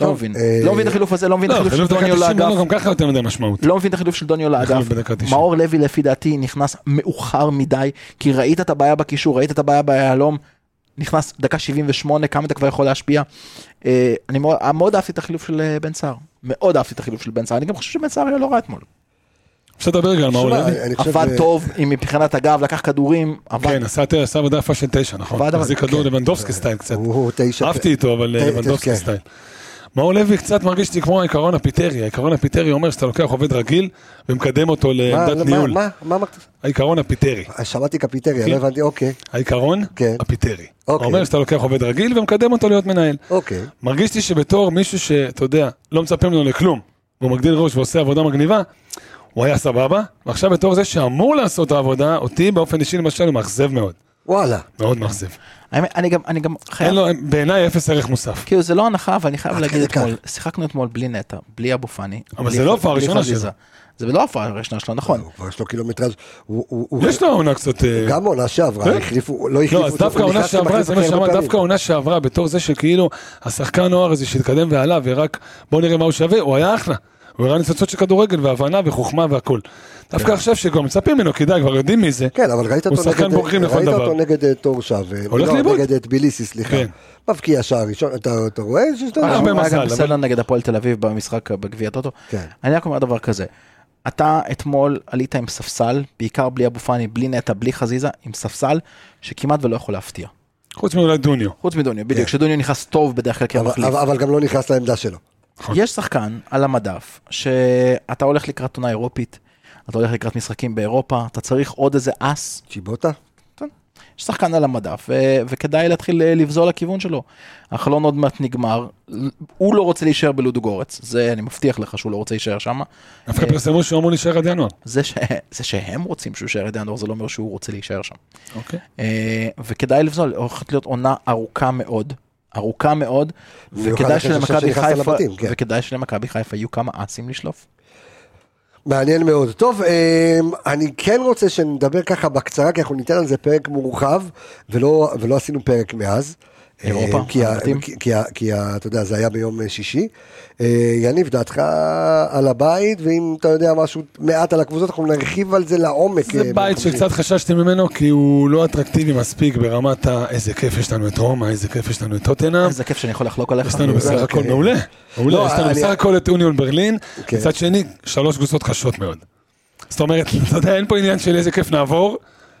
E: לא
A: טוב,
E: מבין.
A: אה,
E: לא מבין את החילוף הזה, לא מבין את
D: לא,
E: החילוף של
D: חילוף דקה
E: דוניו
D: 90
E: לאגף.
D: לא גם ככה יותר מדי משמעות.
E: לא מבין את החילוף של דוניו לאגף.
D: החילוף בדקה 90.
E: מאור לוי לפי דעתי נכנס מאוחר מדי, כי ראית את הבעיה בקישור, ראית את הבעיה ביהלום, נכנס דקה 78, כמה אתה כבר יכול להשפיע. אה, אני מאוד, מאוד אהבתי את החילוף של אה, בן סער. מאוד אהבתי את החילוף של בן סער, אני גם חושב שבן סער היה לא רע אתמול.
D: אפשר לדבר גם על מאור
A: שמע,
D: לוי.
A: אני חושב,
E: עבד
A: אה,
E: טוב עם- מבחינת הגב, לקח כדורים, עבד.
D: כן, עשה עשה עבודה יפה של תשע, נכון?
E: עבד, אבל-
D: החזיק כדור
E: כן.
D: לבנדובסקי סטייל קצת.
A: הוא תשע.
D: אהבתי איתו, אבל
A: ת-
D: לבנדובסקי
A: אה, כן.
D: סטייל. מאור לוי קצת מרגיש לי כמו העיקרון הפיטרי. העיקרון הפיטרי אומר שאתה לוקח עובד רגיל ומקדם אותו
A: מה, לא,
D: לעמדת
A: מה,
D: ניהול. כן.
A: מה, מה אמרת?
D: העיקרון הפיטרי.
A: שמעתי קפיטריה, לא הבנתי, אוקיי,
D: העיקרון
A: כן.
D: הפיטרי.
A: אוקיי.
D: אומר שאתה לוקח עובד רגיל ומקדם אותו להיות מנהל.
A: אוקיי.
D: מרגיש לי שבתור מישהו שאתה יודע, לא מצפה ממנו לכלום, והוא מגדיל ראש ועושה עבודה מגניבה, הוא היה סבבה, ועכשיו בתור זה שאמור לעשות את העבודה, אותי באופן אישי למשל הוא מאכזב מאוד.
A: וואלה.
D: מאוד מאכזב.
E: האמת, אני גם, אני גם חייב,
D: אין לו, בעיניי אפס ערך מוסף.
E: כאילו זה לא הנחה, אבל אני חייב
A: עד
E: להגיד
A: כדי כך.
E: אתמול, שיחקנו אתמול בלי נטע, בלי אבו פאני.
D: אבל
E: בלי
D: זה לא
E: ח-
D: הופעה
E: בלי
D: הראשונה
E: חזיזה.
D: שלו.
E: זה לא ההופעה הראשונה שלו, נכון.
A: הוא כבר יש לו קילומטראז', הוא- הוא- הוא-
D: יש לו עונה קצת... אה,
A: גם עונה שעברה,
D: כן.
A: החליפו, לא החליפו
D: לא, אז
A: אותו,
D: דווקא
A: הוא
D: העונה
A: נכנס
D: שעברה,
A: למחליף
D: זה מה
A: אחר
D: שאמרת,
A: הרבה
D: דווקא העונה שעברה, בתור זה שכאילו השחקן נוער הזה שהתקדם ועלה, ורק בוא נראה מה הוא שווה, הוא היה אחלה. הוא הראה ניצוצות של כדורגל, והבנה וחוכמה והכול. דווקא עכשיו שכבר מצפים ממנו, כדאי, כבר יודעים מי זה.
A: כן, אבל ראית
D: הוא
A: אותו
D: שחקן
A: נגד,
D: בוגרים לכל
A: ראית
D: דבר.
A: אותו נגד אה, תורשה, ו-
D: הולך
A: לא,
D: לאיבוד.
A: נגד אה, טביליסי, סליחה,
D: כן.
A: מבקיע שער ראשון, אתה אתה רואה שיש לו,
D: אה,
E: הוא היה
D: מזל,
E: גם
D: אבל-
E: בסדר נגד הפועל תל אביב במשחק אה, בגביע הטוטו.
A: כן.
E: אני רק אומר דבר כזה, אתה אתמול עלית עם ספסל, בעיקר בלי אבו פאני, בלי נטע, בלי חזיזה, עם ספסל שכמעט ולא יכול להפתיע.
D: חוץ מאולי דוניו.
A: כן.
E: חוץ מדוניו, בדיוק, כשדוניו נכנס טוב בדרך
D: כן,
E: כלל
A: אבל-
E: כמחליף.
A: אבל- אבל גם לא נכנס לעמדה שלו,
E: יש שחקן על המדף שאתה הולך לקראת עונה אירופית, אתה הולך לקראת משחקים באירופה, אתה צריך עוד איזה אס
A: צ'יבוטה,
E: יש שחקן על המדף, ו- וכדאי להתחיל אה, לבזול לכיוון שלו. החלון עוד מעט נגמר, הוא לא רוצה להישאר בלודוגורץ, זה אני מבטיח לך שהוא לא רוצה להישאר שם.
D: דווקא פרסמו שהוא אמור להישאר עד ינואר.
E: זה, ש- זה שהם רוצים שהוא יישאר עד ינואר, זה לא אומר שהוא רוצה להישאר שם.
D: אוקיי.
E: אה, וכדאי לבזול, הולכת להיות עונה ארוכה מאוד, ארוכה מאוד,
A: במיוחד
E: וכדאי
A: אחרי ששש
E: שלמכבי
A: נכנס
E: חיפה,
A: לבתים, כן.
E: וכדאי שלמכבי חיפה יהיו כמה אסים לשלוף.
A: מעניין מאוד. טוב, אמ, אני כן רוצה שנדבר ככה בקצרה, כי אנחנו ניתן על זה פרק מורחב, ולא, ולא עשינו פרק מאז.
E: אירופה,
A: אמ, כי, ה-
E: הבתים.
A: כי, כי, ה- כי ה- אתה יודע, זה היה ביום אה, שישי. אה, יניב, דעתך על הבית, ואם אתה יודע משהו מעט על הקבוצות, אנחנו נרחיב על זה לעומק. אה,
D: זה בית
A: ביום חמישי.
D: שקצת חששתי ממנו, כי הוא לא אטרקטיבי מספיק ברמת ה... איזה כיף יש לנו את רומא, איזה כיף יש לנו את טוטנאם.
E: איזה כיף שאני יכול לחלוק עליך.
D: יש לנו בסך
A: אוקיי.
D: הכל מעולה.
A: לא,
D: אה, מעולה, יש לנו
A: אני-
D: בסך הכל את אוניון ברלין.
A: כן.
D: מצד שני, שלוש קבוצות קשות מאוד. זאת אומרת, אתה יודע, אין פה עניין של איזה כיף נעבור,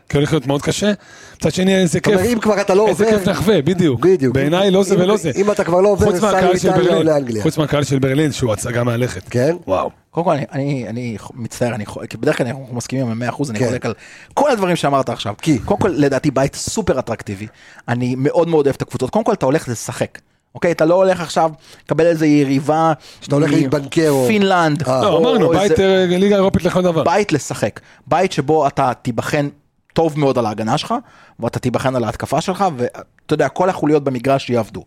D: כי הולך להיות מאוד קשה. מצד שני, איזה
A: אתה
D: כיף...
A: אומר, אם כבר אתה לא
D: איזה
A: עובר,
D: כיף נחווה, בדיוק.
A: בדיוק.
D: בעיניי לא זה
A: אם-
D: ולא זה.
A: אם אתה כבר לא עובר,
D: חוץ
A: סע
D: מהקהל של
A: לאיטליה או
D: ברלין,
A: לאנגליה.
D: חוץ מהקהל של ברלין, שהוא הצגה מהלכת.
A: כן?
D: וואו.
E: קודם כל, אני, אני, אני מצטער, אני, חו- כי בדרך כלל אנחנו מסכימים עם 100%, אני
A: כן.
E: חולק על כל הדברים שאמרת עכשיו. כי, קודם כל, לדעתי בית סופר אטרקטיבי. אני מאוד מאוד אוהב את הקבוצות. קודם כל, אתה הולך לשחק. אוקיי, אתה לא הולך עכשיו לקבל איזה יריבה.
A: שאתה הולך
E: מ-
A: להתבנקר או-
E: פינלנד.
A: אה.
D: לא,
E: או-
D: אמרנו,
E: או
D: בית
E: איזה-
D: אה, ליגה אירופית לכל דבר.
E: בית לשחק. בית שבו אתה תיבחן טוב מאוד על ההגנה שלך, ואתה תיבחן על ההתקפה שלך, ואתה יודע, כל החוליות במגרש יעבדו.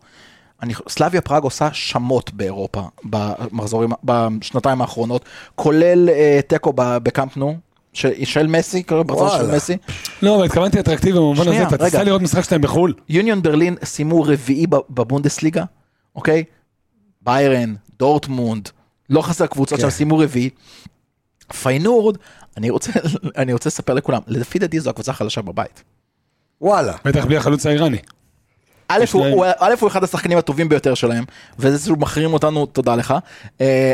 E: אני, סלאביה פראג עושה שמות באירופה במחזורים, בשנתיים האחרונות, כולל אה, תיקו ב- בקאמפ נו, ש- של מסי, כאילו, ברצון של
A: וואלה.
E: מסי.
D: לא, אבל התכוונתי אטרקטיבי במובן הזה,
E: שנייה,
D: אתה תיסע
E: רגע.
D: לראות משחק שלהם בחו"ל.
E: יוניון ברלין סיימו רביעי ב- בבונדסליגה, אוקיי? ביירן, דורטמונד, לא חסר קבוצות
D: כן.
E: שם סיימו רביעי. פיינורד, אני רוצה, אני רוצה לספר לכולם, לפי דעתי זו הקבוצה החלשה בבית.
A: וואלה.
D: בטח בלי החלוץ האיראני.
E: א'
D: יש
E: הוא,
D: להם-
E: הוא, א' הוא אחד השחקנים הטובים ביותר שלהם, וזה שהוא מחרים אותנו, תודה לך. אה,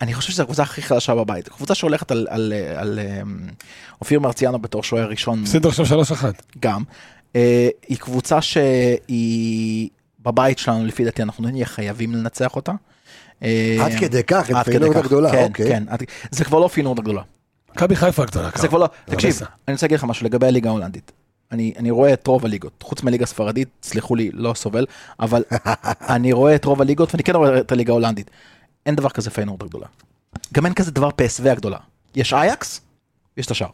E: אני חושב שזו הקבוצה הכי חלשה בבית, קבוצה שהולכת על, על, על, על אה, אופיר מרציאנו בתור שוער ראשון.
D: הפסידו עכשיו 3-1.
E: גם. אה, היא קבוצה שהיא בבית שלנו, לפי דעתי, אנחנו נהיה חייבים לנצח אותה. אה,
A: עד כדי כך, הם
E: עד כדי
A: פיינורד
E: כך.
A: הגדולה,
E: כן,
A: אוקיי.
E: כן, עד- זה כבר לא פיינורד הגדולה.
D: מכבי חיפה הגדולה.
E: זה כבר לא, תקשיב,
D: בסדר.
E: אני רוצה להגיד לך משהו לגבי הליגה ההולנדית. אני, אני רואה את רוב הליגות, חוץ מהליגה הספרדית, סלחו לי, לא סובל, אבל אני רואה את רוב הליגות ואני כן רואה את הליגה ההולנדית. אין דבר כזה פיינורד הגדולה. גם אין כזה דבר PSV הגדולה. יש אייקס, יש את השאר.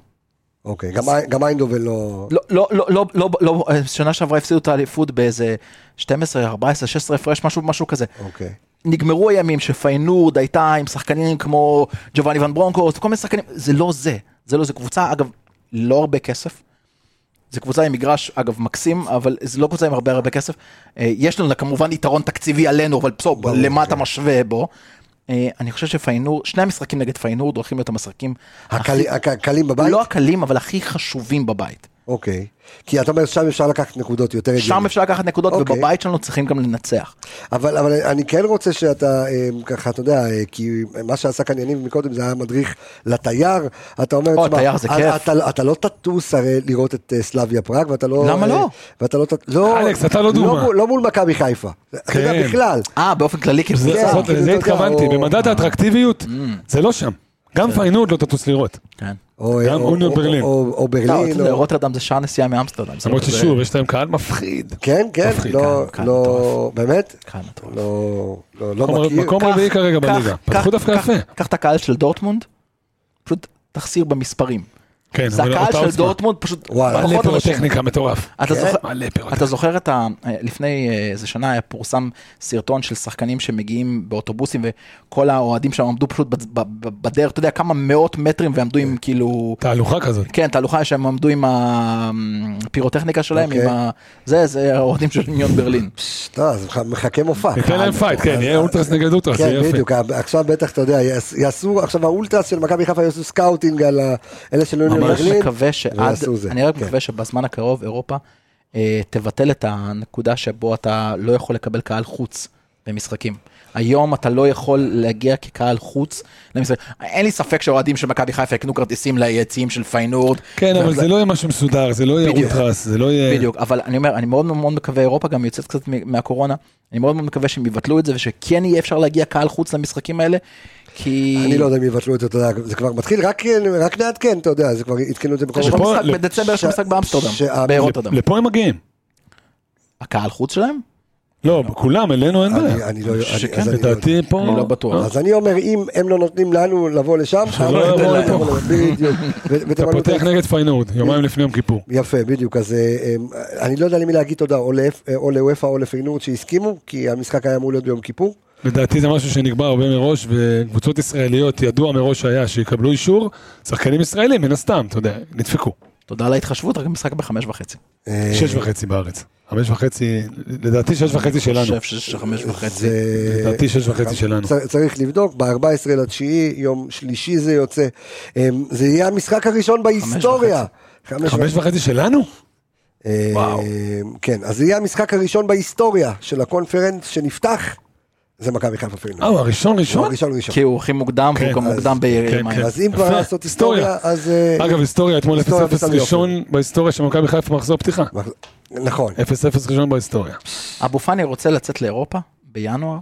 A: אוקיי, גם איי- גם איינדובל לא...
E: לא, לא, לא, לא, לא, לא, אה, שנה שעברה הפסידו את האליפות באיזה 12, 14, 16 הפרש, משהו, משהו כזה.
A: אוקיי.
E: נגמרו הימים שפיינורד הייתה עם שחקנים כמו ג'ובאני ון ברונקורט, כל מיני שחקנים, זה לא זה, זה לא זה קבוצה, אגב, לא הרבה כסף. זה קבוצה עם מגרש, אגב, מקסים, אבל זה לא קבוצה עם הרבה הרבה כסף. אה, יש לנו כמובן יתרון תקציבי עלינו, אבל בסוף,
A: ברור,
E: למה
A: כן.
E: אתה משווה בו? אה, אני חושב שפיינורד, שני המשחקים נגד פיינורד הולכים להיות המשחקים
A: הקלי- הק- הקלים בבית?
E: לא הקלים, אבל הכי חשובים בבית.
A: אוקיי. כי אתה אומר שם אפשר לקחת נקודות יותר
E: שם
A: הגיוניות.
E: אפשר לקחת נקודות,
A: אוקיי.
E: ובבית שלנו צריכים גם לנצח.
A: אבל, אבל אני כן רוצה שאתה אה, ככה, אתה יודע, אה, כי מה שעשה כאן יניב מקודם זה היה מדריך לתייר, אתה אומר,
E: או,
A: "תשמע,
E: תייר זה
A: אתה-
E: כיף."
A: אתה, אתה לא תטוס הרי לראות את אה, סלאביה פראג, ואתה לא...
E: למה
A: אה,
E: לא?
A: ואתה לא, ת- לא...
D: אלכס, אתה לא דוגמה.
A: מול- לא מול מכבי חיפה. אתה יודע,
D: כן.
A: בכלל.
E: אה, באופן כללי, כאילו,
D: זה-
A: כן,
D: זאת-
A: כאילו,
D: לזה
A: אתה יודע,
D: התכוונתי,
A: או-
D: במדד האטרקטיביות, זה לא שם. גם פיינורד לא תטוס לראות.
E: כן.
A: או,
D: גם
A: או-
D: אוניו
A: או-
D: ברלין.
A: או, או, או
E: לא,
A: ברלין.
E: אצל
A: או...
E: רוטרדם זה שעה נסיעה מאמסטרדם. זה
D: למרות
E: לא כזה-
D: ששוב, יש להם קהל מפחיד.
A: כן, כן,
D: מפחיד,
A: לא,
E: כאן, כאן
A: לא,
E: מטורף.
A: באמת?
E: כאן מטורף.
A: לא, לא, לא
D: מקום-
A: מכיר.
D: מקום רביעי כרגע בליגה.
E: קח-
D: פתחו דווקא
E: קח-
D: יפה.
E: קח את הקהל של דורטמונד, פשוט תחסיר במספרים.
D: כן,
E: זה
D: אבל
E: הקהל
D: אותה
E: של
D: עוצמה.
E: דורטמונד, פשוט
A: וואלה.
E: פחות
D: מלא
E: אנשים.
D: פירוטכניקה מטורף.
E: אתה זוכר-
D: מלא
E: אתה
D: פירוטכניקה.
E: זוכר את ה... לפני אה, איזה שנה היה פורסם סרטון של שחקנים שמגיעים באוטובוסים וכל האוהדים שם עמדו פשוט בצ- ב- ב- בדרך, אתה יודע, כמה מאות מטרים ועמדו
D: כן.
E: עם כאילו...
D: תהלוכה כזאת.
E: כן, תהלוכה שהם עמדו עם הפירוטכניקה שלהם,
A: אוקיי.
E: עם ה... זה, זה האוהדים של עניון ברלין.
A: לא, אז מח- מחכה מופע.
D: ניתן להם פייט, כן, יהיה אולטרס נגד אולטרס, זה
A: כן,
D: יהיה יפה.
A: בדיוק, עכשיו בטח, אתה יודע, יעש- יעשו, עכשיו האולטרס של מכבי חיפה יעשו סקאוטינג על ה- אלה של יוניון
E: ממש
A: ברלין.
E: מקווה שעד,
A: ויעשו זה,
E: אני רק
A: כן.
E: מקווה שבזמן הקרוב אירופה אה, תבטל את הנקודה שבו אתה לא יכול לקבל קהל חוץ במשחקים. היום אתה לא יכול להגיע כקהל חוץ למשחק. אין לי ספק שאוהדים של מכבי חיפה יקנו כרטיסים ליציעים של פיינורד.
D: כן, אבל
E: ו-
D: זה לא יהיה משהו מסודר, זה לא יהיה
E: בדיוק.
D: אולטרס, זה לא יהיה...
E: בדיוק, אבל אני אומר, אני מאוד מאוד מקווה, אירופה גם יוצאת קצת מ- מהקורונה, אני מאוד מאוד מקווה שהם יבטלו את זה ושכן יהיה אפשר להגיע קהל חוץ למשחקים האלה, כי...
A: אני לא יודע אם יבטלו את זה, אתה יודע, זה כבר מתחיל, רק- כן, רק נעדכן, אתה יודע, זה כבר עדכנו את זה בכל
E: יש
D: שפה-
E: לך
A: מקום.
E: משחק
D: ל-
E: בדצמבר, יש לך
A: ש-
E: משחק באמסטרדם,
A: שה-
E: באירוטרדם.
D: לפה הם מגיעים.
E: הקהל חוץ שלהם?
D: לא, כולם, אלינו אין
A: אני-
D: בעיה.
A: אני לא- אני-
D: שכן,
A: אז אני לא-
D: לדעתי פה...
E: אני לא בטוח.
A: אז אני אומר, אם הם לא נותנים לנו לבוא לשם,
D: שלא יבואו
A: אתם
D: לפה.
A: תבואו לפה, בדיוק. ו-
D: אתה
A: ותמלאו את
D: פותח נגד פיינורד, יומיים לפני יום כיפור.
A: יפה, בדיוק. אז אה, אה, אני לא יודע למי להגיד תודה, או לאפ- אה, או לוופא או לפיינורד שהסכימו, כי המשחק היה אמור להיות ביום כיפור.
D: לדעתי זה משהו שנקבע הרבה מראש, וקבוצות ישראליות ידוע מראש היה שיקבלו אישור, שחקנים ישראלים מן הסתם, אתה יודע, נדפקו.
E: תודה על ההתחשבות, רק משחק בחמש וחצי.
A: אה,
D: שש וחצי בארץ. חמש וחצי, לדעתי שש וחצי שלנו.
E: אני חושב שזה חמש וחצי.
A: זה-
D: לדעתי שש
A: אה,
D: וחצי שלנו.
A: צ- אוקיי. צריך לבדוק, ב-14 לתשיעי, יום שלישי זה יוצא. אמ, זה יהיה המשחק הראשון בהיסטוריה. חמש
D: חמש וחצי שלנו?
A: אה,
D: וואו.
A: כן, אז זה יהיה המשחק הראשון בהיסטוריה של הקונפרנס שנפתח, זה מכבי חיפה פרינו.
D: אה, הוא הראשון ראשון?
A: ראשון ראשון.
E: כי הוא הכי מוקדם, והוא
D: כן,
E: גם
A: אז-
E: מוקדם אה,
D: כן, כן.
E: בימיים.
A: אז אם
D: יפה,
A: כבר לעשות היסטוריה,
D: היסטוריה.
A: אז... אה,
D: אגב, היסטוריה, אתמול 0-0
A: היסטוריה בסמי אופן.
D: ראשון בהיסטוריה של מכבי חיפה מחזור פתיחה.
A: לא.
D: 0-0
A: נכון.
D: ראשון בהיסטוריה.
E: אבו פאני רוצה לצאת לאירופה בינואר,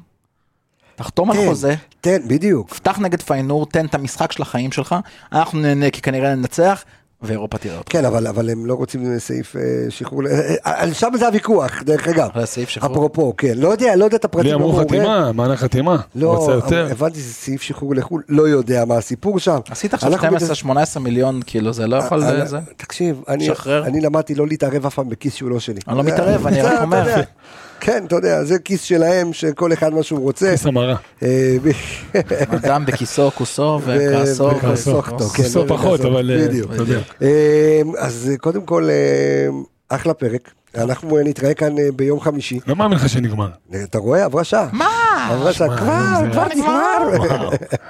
E: תחתום על
A: תן,
E: חוזה,
A: תן, כן, בדיוק.
E: פתח נגד פיינור, תן את המשחק של החיים שלך, אנחנו נהנה כי כנראה ננצח, ואירופה תראה אותך.
A: כן, אבל, אבל הם לא רוצים סעיף אה, שחרור, אה, אה, על שם זה הוויכוח, דרך אגב.
E: על הסעיף שחרור?
A: אפרופו, כן. לא יודע, לא יודע את הפרטים.
D: לי אמרו
A: המעורים.
D: חתימה, מענק חתימה.
A: לא,
D: רוצה יותר.
A: אבל הבנתי שזה סעיף שחרור לחו"ל, לא יודע מה הסיפור שם.
E: עשית עכשיו
A: אנחנו
E: 12-18 מיליון, כאילו זה לא יכול...
A: אה,
E: זה-
A: תקשיב, אני-
E: שחרר.
A: אני למדתי לא להתערב אף פעם בכיס שהוא לא שלי.
E: אני לא
A: זה-
E: מתערב, אני
A: זה,
E: רק
A: אתה
E: אומר.
A: יודע. כן, אתה יודע, זה כיס שלהם, שכל אחד מה שהוא רוצה.
D: כיס המרה.
A: אה, ב-
E: אדם בכיסו, כוסו וכעסו. אה,
A: ו- וכעסו,
E: וכו'.
A: כתו, כן.
D: כוסו
A: ברגע
D: פחות,
A: זה.
D: אבל... אה,
A: בדיוק.
D: אתה יודע.
A: אה, אז אה, קודם כל, אה, אחלה פרק. אנחנו אה, נתראה כאן אה, ביום חמישי.
D: לא מאמין לך שנגמר.
A: אתה רואה? עברה שעה. מה? עברה שעה. כבר, כבר נגמר.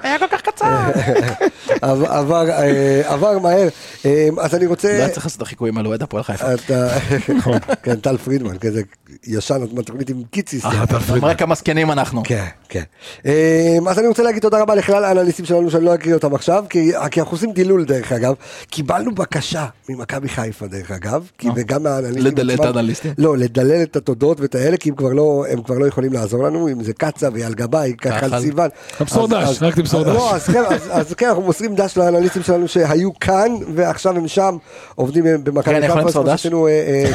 E: היה כל כך קצר.
A: עבר- עבר, אה, עבר מהר. אה, אז אני
E: לא
A: רוצה...
E: היה צריך נכון. לעשות את החיקויים על אוהד הפועל חיפה.
A: אתה... כן, טל פרידמן, כזה ישן, את מהתוכנית עם קיציס.
D: אה, אתה
E: אתה
D: פריד.
E: מראה כמה זקנים אנחנו.
A: כן, כן. אה, אז אני רוצה להגיד תודה רבה לכלל האנליסטים שלנו שאני לא אקריא אותם עכשיו, כי כי אנחנו עושים דילול דרך אגב. קיבלנו בקשה ממכבי חיפה דרך אגב, כי-
E: אה.
A: וגם מהאנליסטים
E: לדלל את
A: עצמם.
E: האנליסטים?
A: לא, לדלל את התודות ואת האלה, כי הם כבר לא- הם כבר לא יכולים לעזור לנו, אם זה קצה ואייל גבאי, כחל
E: כחל.
A: סיוון.
D: תמסור
A: אז-
D: דש,
A: אז-
D: רק תמסור דש.
A: לא, אז כן, אז- אז כן, אנחנו מוסרים דש לאנליסטים שלנו שהיו כאן, ועכשיו הם שם, עובדים במכבי
E: כן,
A: חיפה.
E: אני יכול
A: אז
E: למסור
A: כמו
E: דש?
A: שעשינו, אה, אה,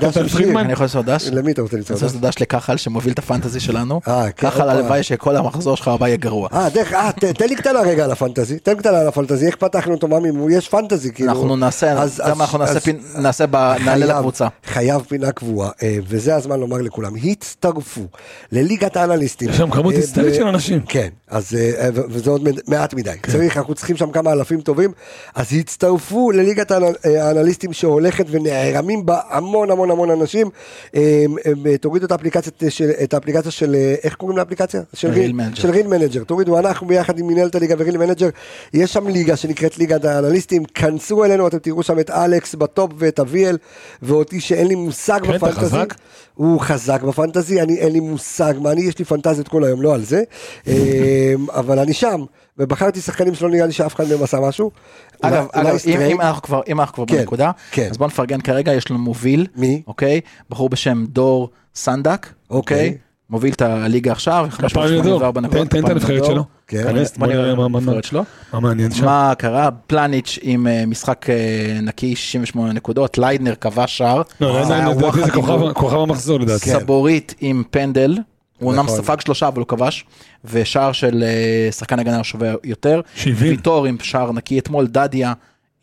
A: דש
D: טל
A: עם
D: פרידמן?
A: שיר.
E: אני יכול לעשות דש?
A: למי אתה רוצה
E: אני
A: לצעוק?
E: רוצה לעשות דש לכחל שמוביל את הפנטזי שלנו.
A: אה, כן,
E: כחל
A: הופה.
E: הלוואי שכל המחזור שלך הבא יהיה גרוע.
A: אה, דרך, אה, ת- תן לי קטנה רגע על הפנטזי, תן קטנה על הפנטזי, איך פתחנו אותו מאמי, יש פנטזי, כאילו.
E: אנחנו נעשה,
A: אז-
E: אתה יודע מה,
A: אז-
E: אנחנו נעשה
A: אז אה,
E: פינ- נעשה, ב- נעלה
A: חייב-
E: לקבוצה.
A: חייב פינה קבועה, אה, וזה הזמן לומר לכולם, הצטרפו לליגת האנליסטים.
D: יש שם כמות
A: אה,
D: היסטרית
A: ב-
D: של אנשים.
A: כן, אז אה, אה, ו- וזה עוד מעט מדי. צריך בערך, אנחנו צריכים שם כמה אלפים טובים, אז הצטרפו לליגת האנ- אה, האנליסטים שהולכת ונערמים בה המון המון המון אנשים. אה, אה, תורידו את האפליקציית אה, של, את האפליקציה של, אה, איך קוראים לאפליקציה? של
E: Real Manager.
A: של ריל מנג'ר. תורידו, אנחנו ביחד עם מנהלת הליגה וריל מנג'ר, יש שם ליגה שנקראת ליגת האנליסטים, כנסו אלינו, אתם תראו שם את אלכס בטופ ואת אביאל, ואותי שאין לי מושג
D: כן, אתה
A: בפנטזי.
D: חזק?
A: הוא חזק בפנטזי, אני אין לי מושג מה, אני יש לי פנטזיות כל היום, לא על זה. אמ, אבל אני שם, ובחרתי שחקנים שלא נראה לי שאף אחד מהם עשה משהו.
E: אגב,
A: אולי- אולי
E: אגב אם,
A: סטרייט,
E: אם אנחנו כבר, אם אנחנו כבר
A: כן,
E: בנקודה,
A: כן.
E: אז בוא נפרגן כרגע, יש לנו מוביל,
A: מי?
E: אוקיי? בחור בשם דור סנדק,
A: אוקיי.
E: מוביל את הליגה עכשיו,
D: כפיים לדור,
E: 584
D: תן-
E: נקודות.
D: תן את
E: כפיים
D: הנבחרת
E: לדור.
D: שלו.
A: כן.
D: כנס, בוא
E: בוא
D: נראה
E: נראה
D: מה- מה- מה-
E: הנבחרת שלו.
D: מה מעניין שם.
E: מה קרה? פלניץ' עם אה, משחק אה, נקי 68 נקודות, ליידנר כבש שער,
D: לא, לא,
E: זה היה
D: לא, לדעתי
E: וואחד
D: זה
E: עם גול.
D: כוכב- כוכב המחזור
E: כן.
D: לדעתי.
E: סבורית עם פנדל. הוא אמנם
A: נכון.
E: ספג שלושה אבל הוא כבש, ושער של אה, שחקן הגנה שווה יותר.
D: 70.
E: ויטור עם שער נקי אתמול, דדיה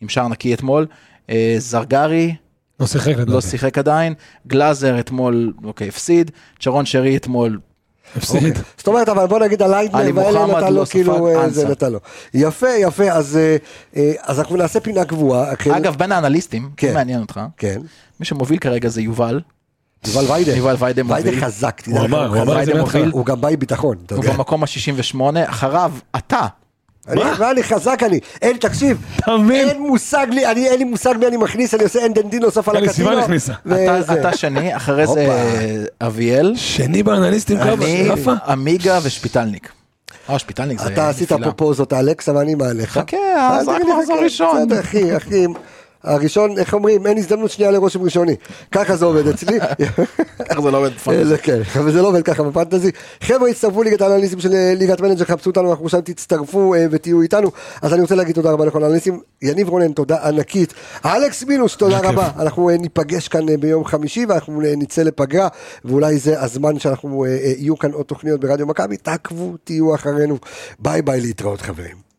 E: עם שער נקי אתמול, אה, זרגרי
D: לא שיחק
E: לא
D: לדעתי.
E: שיחק עדיין, גלאזר אתמול, אוקיי, הפסיד, צ'רון שרי אתמול,
D: הפסיד.
A: אוקיי. זאת אומרת, אבל בוא נגיד
E: עלי
A: הלייטנר והאלה
E: מוחמד
A: נתן לו,
E: לא ספג,
A: כאילו, אה, זה
E: אנסה.
A: נתן לו. יפה, יפה, אז אה, אה, אז אנחנו נעשה פינה קבועה. כן,
E: אגב בין האנליסטים,
A: כן.
E: כן. מעניין אותך,
A: כן.
E: מי שמוביל כרגע זה יובל,
A: יובל ויידה.
E: יובל ויידה מוביל.
A: חזק, תדע
D: הוא
A: לך,
D: אמר, הוא אמר את זה
E: ויידה
D: מההתחלה.
E: מוביל.
A: הוא גם בא עם ביטחון, אתה
E: הוא
A: יודע.
E: במקום ה-68, אחריו אתה,
A: אני- ואני חזק אני, אין, תקשיב,
D: אתה מבין?
A: אין מושג לי, אני אין לי מושג מי אני מכניס, אני לא עושה אין דנדין נוסף על
D: אלי
A: הקטינו.
D: סיוון הכניסה.
E: אתה,
A: וזה.
E: אתה שני, אחרי זה
A: הופה. לא,
E: אביאל,
D: שני באנליסטים כמה?
E: אני,
D: רפה?
E: עמיגה ושפיטלניק. אה, שפיטלניק זה
A: אתה עשית
E: נפילה.
A: פרופוזות אלכס, אבל אני מעליך.
E: חכה,
A: אל
E: אז
A: תגיד
E: רק
A: לי,
E: מחזור
A: חכה.
E: ראשון.
A: בסדר, אחי, אחי. הראשון, איך אומרים, אין הזדמנות שנייה לרושם ראשוני. ככה זה עובד אצלי.
E: איך זה לא עובד בפנטזי?
A: זה כן, אבל זה לא עובד ככה בפנטזי. חבר'ה, הצטרפו ליגת האנליסטים של אה, ליגת מנג'ר, חפשו אותנו, אנחנו שם תצטרפו אה, ותהיו איתנו. אז אני רוצה להגיד תודה רבה לכל האנליסטים. יניב רונן, תודה ענקית. אלכס מינוס, תודה
D: היה כיף.
A: רבה. אנחנו אה, ניפגש כאן אה, ביום חמישי ואנחנו אה, נצא לפגרה, ואולי זה הזמן שאנחנו, אה, אה, יהיו כאן עוד תוכניות ברדיו מכבי. תעקבו, תהיו אחרינו. ביי ביי להתראות חברים.